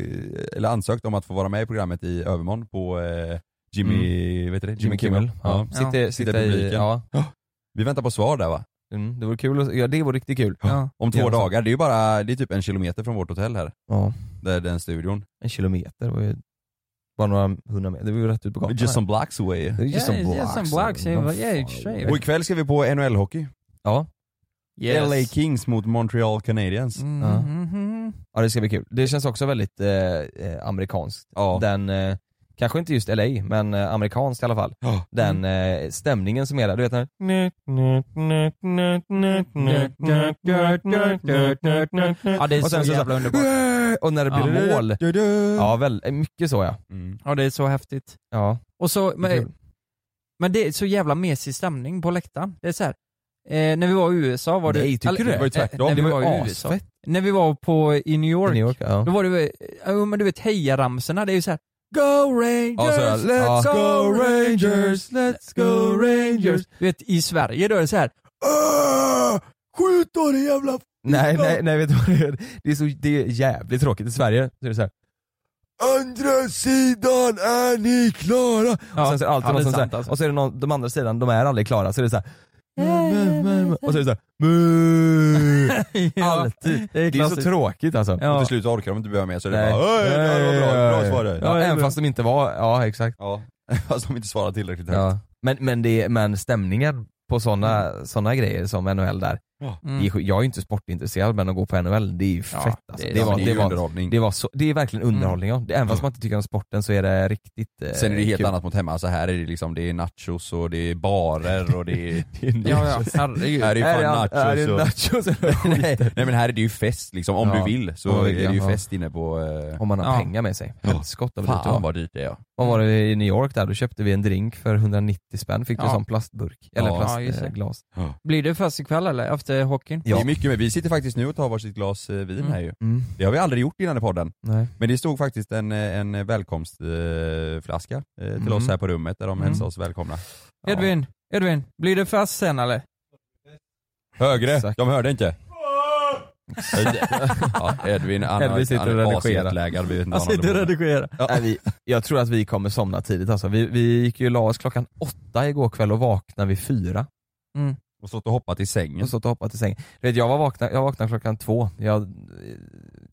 Speaker 6: eller ansökt om att få vara med i programmet i övermorgon på eh,
Speaker 4: Mm.
Speaker 6: Jimmy, vet du det? Jimmy, Kimmel. Ja.
Speaker 5: Ja.
Speaker 4: Sitter,
Speaker 6: Sitter i
Speaker 4: sitter i,
Speaker 6: publiken.
Speaker 4: ja.
Speaker 6: Vi väntar på svar där va?
Speaker 4: Mm, det vore kul, att, ja det vore riktigt kul.
Speaker 5: Ja.
Speaker 6: Om två
Speaker 4: Ja, så.
Speaker 6: dagar, det är ju bara, det är typ en kilometer från vårt hotell här.
Speaker 4: Ja.
Speaker 6: Där den studion.
Speaker 4: En kilometer var ju bara några hundra meter, det var ju rätt ut på gatan.
Speaker 6: Just some blocks away.
Speaker 4: Det är Just
Speaker 5: Yeah, just some blocks,
Speaker 4: Vad
Speaker 5: yeah,
Speaker 4: fan
Speaker 5: yeah,
Speaker 4: är
Speaker 5: sure.
Speaker 4: det?
Speaker 6: Och ikväll ska vi på NHL-hockey.
Speaker 4: Ja.
Speaker 6: LA Kings mot Montreal Canadiens.
Speaker 5: Mm,
Speaker 4: Ja.
Speaker 5: mm, mm.
Speaker 4: ja, det ska bli kul. Det känns också väldigt eh, eh, amerikanskt.
Speaker 6: Ja.
Speaker 4: Den, eh, kanske inte just LA, men eh, amerikanskt i alla fall.
Speaker 6: Ja.
Speaker 4: Den eh, stämningen som är där, du vet när
Speaker 5: Ja det är
Speaker 4: Och
Speaker 5: så
Speaker 4: sen så-
Speaker 5: jävla underbart.
Speaker 4: Och när det blir
Speaker 5: Ja.
Speaker 4: mål. Ja, väl, mycket så ja.
Speaker 6: Mm.
Speaker 5: Ja det är så häftigt.
Speaker 4: Ja,
Speaker 5: Och så,
Speaker 4: det är kul.
Speaker 5: men, men det är så jävla mesig stämning på läktaren. Det är så här. Eh, när vi var i USA var det...
Speaker 4: Nej, tycker du det?
Speaker 5: Eller, eh,
Speaker 4: Det var ju
Speaker 6: tvärtom.
Speaker 5: när vi
Speaker 4: Det var
Speaker 5: var
Speaker 4: ju
Speaker 5: i USA. När vi var på, i New York,
Speaker 4: I New York ja.
Speaker 5: då var det ju, ja, men du vet hejaramsorna, det är ju så här. Go
Speaker 6: Ja,
Speaker 5: Rangers!
Speaker 6: så är det.
Speaker 4: Ja.
Speaker 6: Let's go Rangers!
Speaker 4: let's
Speaker 5: go Rangers! Du vet i Sverige då är det så här.
Speaker 4: Åh, Skjut då det jävla... Nej, nej, nej vet du vad det är? Det är, så, det är jävligt tråkigt. I Sverige så är det så här. Andra sidan är ni klara!
Speaker 5: Ja,
Speaker 4: och sen så är det
Speaker 5: ja,
Speaker 4: alltid
Speaker 5: det
Speaker 4: någon
Speaker 5: är
Speaker 4: som
Speaker 5: sant
Speaker 4: säger,
Speaker 5: alltså.
Speaker 4: och så är det någon, de andra sidan, de är aldrig klara, så är det så här. "Mm, mm, mm", Och så är det så här. "Mm".
Speaker 5: ja,
Speaker 4: Alltid.
Speaker 5: Det är,
Speaker 4: Det är så
Speaker 5: klassiskt.
Speaker 4: tråkigt alltså.
Speaker 5: Ja.
Speaker 6: Och till slut orkar de inte börja med så är det
Speaker 4: Nej.
Speaker 6: bara "Oj, det här var bra, bra
Speaker 4: Ja,
Speaker 6: svar
Speaker 4: ja,
Speaker 6: där."
Speaker 4: ja,
Speaker 5: Ja,
Speaker 4: även
Speaker 5: men-
Speaker 4: fast de inte var, ja exakt.
Speaker 6: Ja, fast de inte svarar tillräckligt högt.
Speaker 4: Ja. Men, men, det, men stämningen på sådana såna grejer som NHL där,
Speaker 5: Mm.
Speaker 4: Det är sj- Jag är ju inte sportintresserad men att gå på NHL, det är ju
Speaker 5: Ja,
Speaker 4: fett alltså.
Speaker 5: det
Speaker 4: det,
Speaker 5: är-
Speaker 4: var,
Speaker 6: Mm. det är ju
Speaker 4: det, var,
Speaker 6: underhållning.
Speaker 4: det, var så, det är verkligen underhållning ja. Det- Även fast
Speaker 6: Ja.
Speaker 4: man inte tycker om sporten så är det riktigt eh,
Speaker 6: Sen är det helt
Speaker 4: kul.
Speaker 6: annat mot hemma, så här är det liksom, det är nachos och det är barer och det är...
Speaker 5: Ja, ja, herregud.
Speaker 6: Här är ju
Speaker 4: Här
Speaker 6: fan
Speaker 4: är
Speaker 6: nachos,
Speaker 4: här är
Speaker 6: och...
Speaker 4: nachos
Speaker 6: nej,
Speaker 4: och
Speaker 6: nej men här är det ju fest liksom, om
Speaker 4: Ja.
Speaker 6: du vill så
Speaker 4: Om man
Speaker 6: är
Speaker 4: vill,
Speaker 6: det ju
Speaker 4: ja.
Speaker 6: fest inne på... Eh...
Speaker 4: Om man har
Speaker 5: Ja.
Speaker 4: pengar med sig.
Speaker 6: Ja.
Speaker 4: Helskotta vad dyrt det var.
Speaker 6: Fan vad dyrt det är ja.
Speaker 4: Vad var det i New York där? Då köpte vi en drink för 190 spänn, fick du
Speaker 5: Ja.
Speaker 4: en sån plastburk. Eller
Speaker 6: Ja.
Speaker 5: Ja, just det.
Speaker 4: plastglas.
Speaker 5: Blir det fest ikväll eller? Efter hockeyn?
Speaker 6: Det är mycket med, vi sitter faktiskt nu och tar varsitt glas eh, vin
Speaker 5: Mm.
Speaker 6: här ju.
Speaker 4: Mm.
Speaker 6: Det har vi aldrig gjort innan i podden.
Speaker 4: Nej.
Speaker 6: Men det stod faktiskt en, eh, en välkomstflaska eh, till
Speaker 4: Mm.
Speaker 6: oss här på rummet där de
Speaker 5: Mm.
Speaker 6: hälsade oss välkomna.
Speaker 5: Edvin, Edvin, blir det fest sen eller?
Speaker 6: Högre,
Speaker 4: Exakt.
Speaker 6: de hörde inte. ja, Edvin, han,
Speaker 4: Edvin
Speaker 6: Edvin
Speaker 4: sitter
Speaker 6: han
Speaker 4: och
Speaker 6: är
Speaker 4: redigerar.
Speaker 6: asjetlaggad. vi vet inte vad
Speaker 5: Jag
Speaker 6: han
Speaker 5: sitter
Speaker 6: håller på
Speaker 5: och
Speaker 6: med.
Speaker 5: redigerar.
Speaker 4: Nej, vi, jag tror att vi kommer somna tidigt alltså. Vi, vi gick ju och la oss klockan åtta igår kväll och vaknade vid fyra.
Speaker 6: Och stått och hoppat i sängen.
Speaker 4: Och stått och hoppat i sängen. Du vet, jag, var vakna, jag vaknade klockan två. Jag, eh,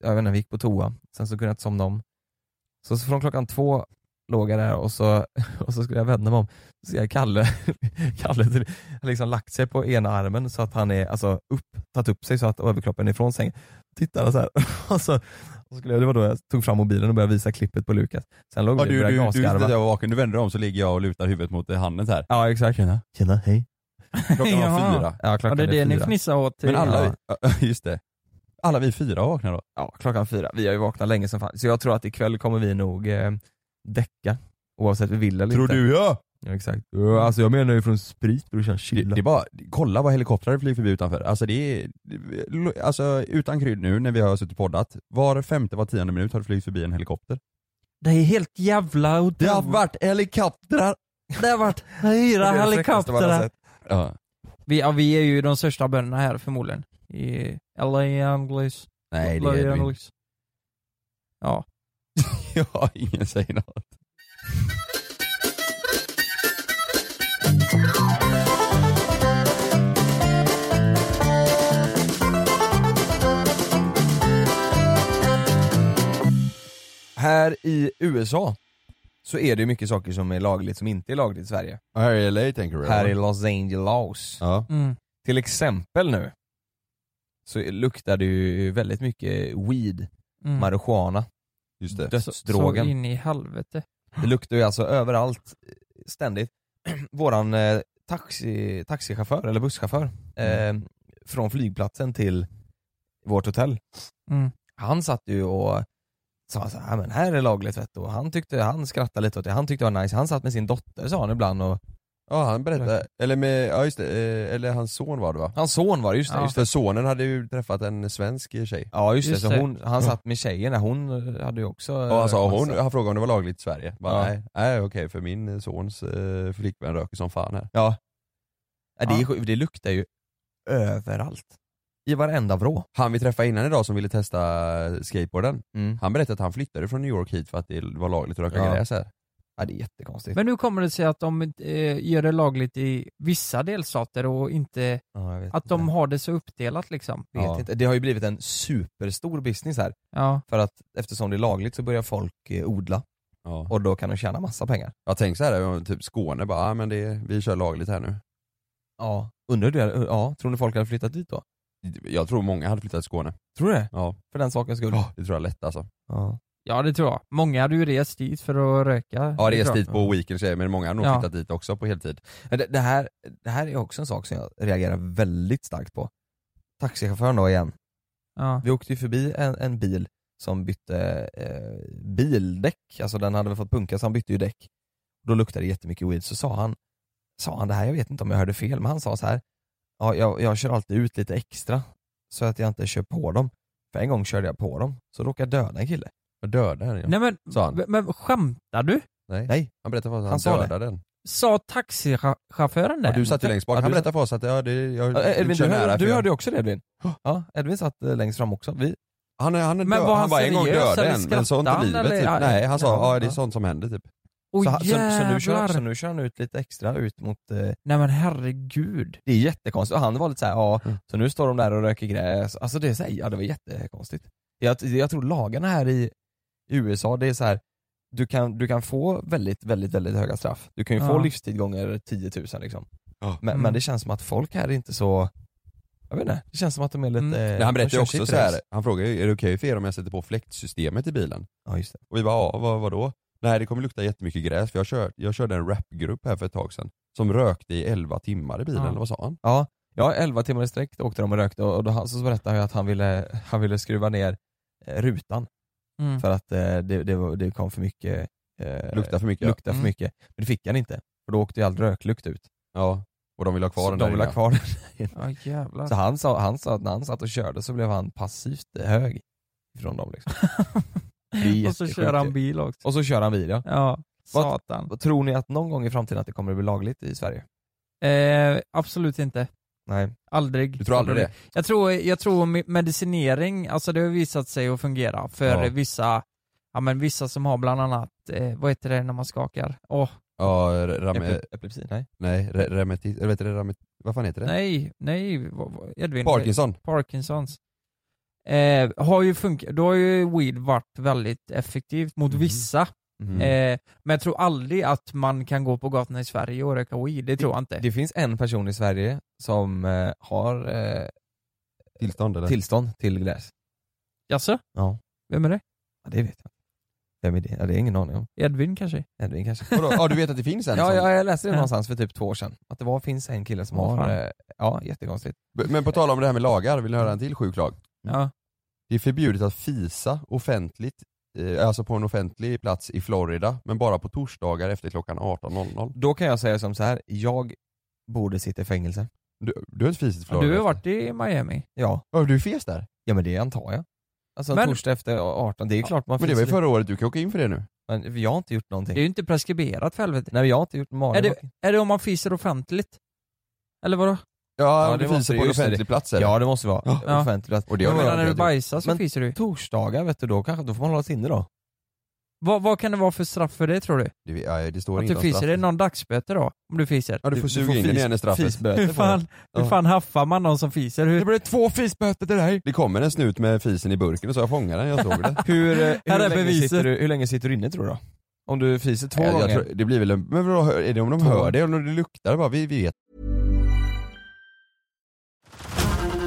Speaker 4: jag vet inte, vi gick på toa. Sen så kunde jag inte somna om. Så, så från klockan två låg jag där och så, och så skulle jag vända mig om. Så ser jag Kalle, Kalle till- har liksom lagt sig på ena armen så att han är alltså upp, tagit upp sig så att överkroppen är ifrån sängen. Tittar han så här. Och så, och så skulle jag, det var då jag tog fram mobilen och började visa klippet på Lukas. Sen låg vi
Speaker 6: Ja,
Speaker 4: och
Speaker 6: du, du,
Speaker 4: började
Speaker 6: du sitter
Speaker 4: gasgarva.
Speaker 6: där och vaken, du vänder dig om så ligger jag och lutar huvudet mot eh, handen så här.
Speaker 4: Ja exakt. Tjena. Tjena, hej.
Speaker 6: Klockan var
Speaker 5: Jaha.
Speaker 6: fyra.
Speaker 4: Ja, klockan
Speaker 5: Ja, det är det ni
Speaker 4: fyra.
Speaker 5: fnissar åt.
Speaker 6: Men
Speaker 4: Typ. Ja.
Speaker 6: alla, ja. just det. Alla vi fyra vaknar då.
Speaker 4: Ja, klockan fyra. Vi har ju vaknat länge som fan. Så jag tror att ikväll kommer vi nog eh, däcka. Oavsett vi vill eller inte.
Speaker 6: ja?
Speaker 4: Ja, exakt. Ja, Alltså jag menar ju från sprit brorsan,
Speaker 6: Det,
Speaker 4: chilla.
Speaker 6: det är bara, kolla vad helikoptrar flyger förbi utanför. Alltså det är, alltså utan krydd nu när vi har suttit och poddat, var femte, var tionde minut har det flugit förbi en helikopter.
Speaker 5: Det är helt jävla otroligt.
Speaker 6: varit helikoptrar!
Speaker 5: Det har varit hyra
Speaker 4: det
Speaker 5: helikoptrar.
Speaker 6: Ja.
Speaker 5: Vi, ja, vi är ju de största bönderna här förmodligen. I LA Anglis.
Speaker 6: Nej det
Speaker 5: LA
Speaker 6: är Edvin.
Speaker 5: Anglis. Ja.
Speaker 6: Ja, ingen säger något.
Speaker 4: Här i USA så är det ju mycket saker som är lagligt som inte är lagligt i Sverige.
Speaker 6: Här i LA tänker du?
Speaker 4: Här i Los Angeles.
Speaker 6: Ja.
Speaker 5: Mm.
Speaker 4: Till exempel nu så luktar det ju väldigt mycket weed,
Speaker 5: Mm.
Speaker 4: marijuana,
Speaker 6: Just det.
Speaker 5: Så- Så
Speaker 4: dödsdrogen.
Speaker 5: in i helvete.
Speaker 4: Det luktar ju alltså överallt, ständigt. Våran eh, taxi, taxichaufför, eller busschaufför,
Speaker 6: Mm.
Speaker 4: eh, från flygplatsen till vårt hotell.
Speaker 5: Mm.
Speaker 4: Han satt ju och sa så här, men här är lagligt vet du. Och han, tyckte, han skrattade lite åt det, han tyckte det var nice. Han satt med sin dotter sa han ibland och
Speaker 6: Ja han berättade, eller med, ja just det, eh, eller hans son var det va?
Speaker 4: hans son var det, just det.
Speaker 5: Ja.
Speaker 4: Just det.
Speaker 6: För sonen hade ju träffat en svensk tjej.
Speaker 4: Ja just,
Speaker 5: Just
Speaker 4: det,
Speaker 5: det.
Speaker 4: så hon, han satt med tjejen där, hon hade ju också...
Speaker 6: Ja, han sa
Speaker 4: eh,
Speaker 6: hon,
Speaker 4: massa-
Speaker 6: han frågade om det var lagligt i Sverige.
Speaker 4: Ja.
Speaker 6: Bara, Nej, nej okej för min sons eh, flickvän röker som fan här.
Speaker 4: Ja. ja. Det, är sjukt, det luktar ju överallt. I varenda vrå.
Speaker 6: Han vi träffade innan idag som ville testa eh, skateboarden,
Speaker 4: Mm.
Speaker 6: han berättade att han flyttade från New York hit för att det var lagligt att röka
Speaker 4: Ja.
Speaker 6: gräs här.
Speaker 4: Ja det är jättekonstigt.
Speaker 5: Men nu kommer det sig att de eh, gör det lagligt i vissa delstater och inte
Speaker 4: ja, jag vet
Speaker 5: att de
Speaker 4: inte.
Speaker 5: har det så uppdelat liksom.
Speaker 4: Vet inte. Det har ju blivit en superstor business här.
Speaker 5: Ja.
Speaker 4: För att eftersom det är lagligt så börjar folk eh, odla
Speaker 6: Ja.
Speaker 4: och då kan de tjäna massa pengar.
Speaker 6: Jag tänkte så här, om typ Skåne bara, ah, men det, vi kör lagligt här nu.
Speaker 4: Ja. Undrar du, ja, tror du folk hade flyttat dit då?
Speaker 6: Jag tror många hade flyttat till Skåne.
Speaker 4: Tror du det?
Speaker 6: Ja,
Speaker 4: För den sakens skull?
Speaker 6: det tror jag lätt alltså.
Speaker 4: Ja.
Speaker 5: ja, det tror jag. Många hade ju rest dit för att röka.
Speaker 6: Ja
Speaker 5: det
Speaker 6: rest
Speaker 5: tror jag.
Speaker 6: dit på weekends grejer, men många har nog
Speaker 5: Ja.
Speaker 6: flyttat dit också på heltid.
Speaker 4: Men det, det, här, det här är också en sak som jag reagerar väldigt starkt på. Taxichauffören då igen.
Speaker 5: Ja.
Speaker 4: Vi åkte ju förbi en, en bil som bytte eh, bildäck, alltså den hade väl fått punka så han bytte ju däck. Då luktade det jättemycket weed, så sa han, sa han det här, jag vet inte om jag hörde fel, men han sa så här, ja, jag, jag kör alltid ut lite extra så att jag inte kör på dem. För en gång körde jag på dem, så råkade jag döda en kille.
Speaker 6: Jag dödade den ja.
Speaker 5: Nej men,
Speaker 6: Sa han.
Speaker 5: men skämtar du?
Speaker 6: Nej.
Speaker 4: Nej.
Speaker 6: Han berättade för oss att
Speaker 4: Han
Speaker 6: han,
Speaker 4: sa det.
Speaker 6: dödade den.
Speaker 5: Sa taxichauffören det?
Speaker 6: Ja, du satt ju längst bak.
Speaker 4: Ja,
Speaker 6: Han
Speaker 4: du
Speaker 6: berättade för oss att ja, det, jag
Speaker 4: Ja, Edvin,
Speaker 6: kör
Speaker 4: du,
Speaker 6: nära,
Speaker 4: hörde,
Speaker 6: för
Speaker 4: du
Speaker 6: jag-
Speaker 4: hörde ju också det Edvin? Ja, Edvin satt eh, längst fram också. Vi,
Speaker 6: Han, eh, han,
Speaker 5: Men
Speaker 6: dö-
Speaker 5: var
Speaker 6: han
Speaker 5: han
Speaker 6: bara en gång
Speaker 5: seriös
Speaker 6: dödade
Speaker 5: eller
Speaker 6: en, men sa
Speaker 5: skrattade
Speaker 6: inte
Speaker 5: han,
Speaker 6: livet
Speaker 5: eller?
Speaker 6: typ.
Speaker 5: Ja,
Speaker 6: Nej, han sa
Speaker 4: ja,
Speaker 6: ja, det är
Speaker 4: ja.
Speaker 6: sånt som händer typ.
Speaker 5: Åh
Speaker 4: så, han- så, så, nu kör,
Speaker 5: jävlar.
Speaker 4: så nu kör han ut lite extra ut mot eh,
Speaker 5: Nej men herregud.
Speaker 4: Det är jättekonstigt. Och han var lite såhär, ja,
Speaker 6: Mm.
Speaker 4: så nu står de där och röker gräs. Alltså det är såhär, ja det var jättekonstigt. Jag, jag tror lagarna här i USA, det är så här. Du kan, du kan få väldigt, väldigt, väldigt höga straff. Du kan ju
Speaker 5: Ja.
Speaker 4: få livstid gånger 10 000 liksom. Men,
Speaker 5: Mm.
Speaker 4: men det känns som att folk här är inte så Jag vet inte, det känns som att de är lite...
Speaker 5: Mm.
Speaker 4: eh,
Speaker 6: Nej, han
Speaker 4: de
Speaker 6: berättade
Speaker 4: kör
Speaker 6: ju
Speaker 4: sitt
Speaker 6: också så
Speaker 4: race.
Speaker 6: här. han frågade ju, är det okej för er om jag sätter på fläktsystemet i bilen?
Speaker 4: Ja, just det.
Speaker 6: Och vi bara, ja, vad, vadå? Nej det kommer lukta jättemycket gräs för jag, kör, jag körde en rapgrupp här för ett tag sedan som rökte i 11 timmar i bilen,
Speaker 5: Ja.
Speaker 6: eller vad sa han?
Speaker 4: Ja, ja 11 timmar i sträck åkte de och rökte och då, han- så berättade han ju att han ville, han ville skruva ner eh, rutan
Speaker 5: Mm.
Speaker 4: för att eh, det, det, var- det kom för mycket eh,
Speaker 6: Lukta för mycket ja.
Speaker 4: lukta för
Speaker 5: Mm.
Speaker 4: mycket. Men det fick han inte, för då åkte ju all röklukt ut.
Speaker 6: ja. Och de vill ha kvar
Speaker 4: så
Speaker 6: den
Speaker 4: de
Speaker 6: där
Speaker 4: ville ha
Speaker 6: inne.
Speaker 4: kvar den.
Speaker 5: Ja jävlar.
Speaker 4: Så han sa, han sa att när han satt och körde så blev han passivt eh, hög från dem liksom. Det är
Speaker 5: och så
Speaker 4: jättesjukt
Speaker 5: kör
Speaker 4: ju.
Speaker 5: han bil också.
Speaker 4: Och så kör han bil ja.
Speaker 5: Ja,
Speaker 4: Vad-
Speaker 5: satan.
Speaker 4: Och Tror ni att någon gång i framtiden att det kommer att bli lagligt i Sverige?
Speaker 5: Eh, absolut inte.
Speaker 4: Nej.
Speaker 5: Aldrig.
Speaker 6: Du tror aldrig det?
Speaker 5: Jag tror, jag tror me- medicinering, alltså det har visat sig att fungera för
Speaker 6: Ja.
Speaker 5: vissa, ja men vissa som har bland annat, eh, vad heter det när man skakar? Åh,
Speaker 6: Ja, ram, eh,
Speaker 4: Epi- epilepsi? Nej.
Speaker 6: nej, re, remetit, eller vet du det, ramet, vad fan heter det?
Speaker 5: nej, nej, vad- vad- Edvin.
Speaker 6: Parkinson?
Speaker 5: Parkinsons. Eh, har ju funkat, då har ju weed varit väldigt effektivt mot vissa.
Speaker 6: Mhm.
Speaker 5: Eh, men jag tror aldrig att man kan gå på gatorna i Sverige och röka weed, det tror jag inte.
Speaker 4: Det finns en person i Sverige som eh, har eh,
Speaker 6: Tillstånd eller?
Speaker 4: tillstånd till gräs.
Speaker 5: Jaså?
Speaker 4: Ja.
Speaker 5: Vem är det?
Speaker 4: Ja, det vet jag inte. Vem är det? Ja, det är ingen aning om.
Speaker 5: Edvin kanske?
Speaker 6: Mm.
Speaker 4: Edvin kanske.
Speaker 6: Vadå? Ja du vet att det finns en
Speaker 4: Ja,
Speaker 6: sån?
Speaker 4: ja, jag läste det någonstans för typ två år sedan. Att det var, finns en kille som
Speaker 5: Åh,
Speaker 4: har,
Speaker 5: fan.
Speaker 4: eh, ja jättekonstigt.
Speaker 6: B- Men på tal om det här med lagar, vill ni höra en till sjuk lag?
Speaker 5: Ja.
Speaker 6: Det är förbjudet att fisa offentligt, eh, alltså på en offentlig plats i Florida, men bara på torsdagar efter klockan 18.00.
Speaker 4: Då kan jag säga som så här. jag borde sitta i fängelse.
Speaker 6: Du, du har inte fisit i
Speaker 5: Ja,
Speaker 6: Florida?
Speaker 5: Du har
Speaker 6: efter?
Speaker 5: varit i Miami.
Speaker 4: Ja,
Speaker 6: Ja, du fes där?
Speaker 4: ja men det antar jag. Alltså en
Speaker 5: Men-
Speaker 4: torsdag efter 18, det är ju klart man
Speaker 6: Men det var ju
Speaker 4: finns-
Speaker 6: förra året, du kan åka in för det nu.
Speaker 4: men jag har inte gjort någonting.
Speaker 5: Det är ju inte preskriberat för helvete.
Speaker 4: Nej men jag har inte gjort magen.
Speaker 5: Är det, är det om man fiser offentligt? Eller vadå?
Speaker 6: Ja,
Speaker 4: det
Speaker 6: du
Speaker 4: måste
Speaker 6: fiser
Speaker 4: det,
Speaker 6: på en
Speaker 4: just det.
Speaker 6: offentlig plats eller?
Speaker 4: Ja det måste vara
Speaker 5: Ja.
Speaker 4: offentligt.
Speaker 6: Och det
Speaker 5: Jag
Speaker 6: har
Speaker 5: menar
Speaker 6: jag
Speaker 5: när du
Speaker 6: inte.
Speaker 5: bajsar så
Speaker 4: Men-
Speaker 5: fiser du.
Speaker 4: Torsdagar vet du, då, kanske, då får man hålla sig inne då.
Speaker 5: Vad, vad kan det vara för straff för det tror du?
Speaker 6: Det, ja, det står
Speaker 5: Att
Speaker 6: inte
Speaker 5: du
Speaker 6: om
Speaker 5: fiser?
Speaker 6: straff.
Speaker 5: Är det någon dagsböter då? Om du fiser?
Speaker 6: Ja, du får suga in den igen i straffet.
Speaker 4: Fisböter
Speaker 5: Hur
Speaker 4: får du.
Speaker 5: fan, hur fan haffar man någon som fiser? Hur,
Speaker 6: Det blev två fisböter till dig! Det kommer en snut med fisen i burken och så jag fångade den, jag såg det.
Speaker 4: Hur, eh,
Speaker 5: Här
Speaker 4: hur,
Speaker 5: är
Speaker 4: länge
Speaker 5: beviset.
Speaker 4: sitter du, hur länge sitter du inne tror du då? Om du fiser två
Speaker 6: Nej, jag
Speaker 4: gånger?
Speaker 6: tror, det blir väl en, men vadå, är det om de hör det eller om det luktar? Bara, vi, vi vet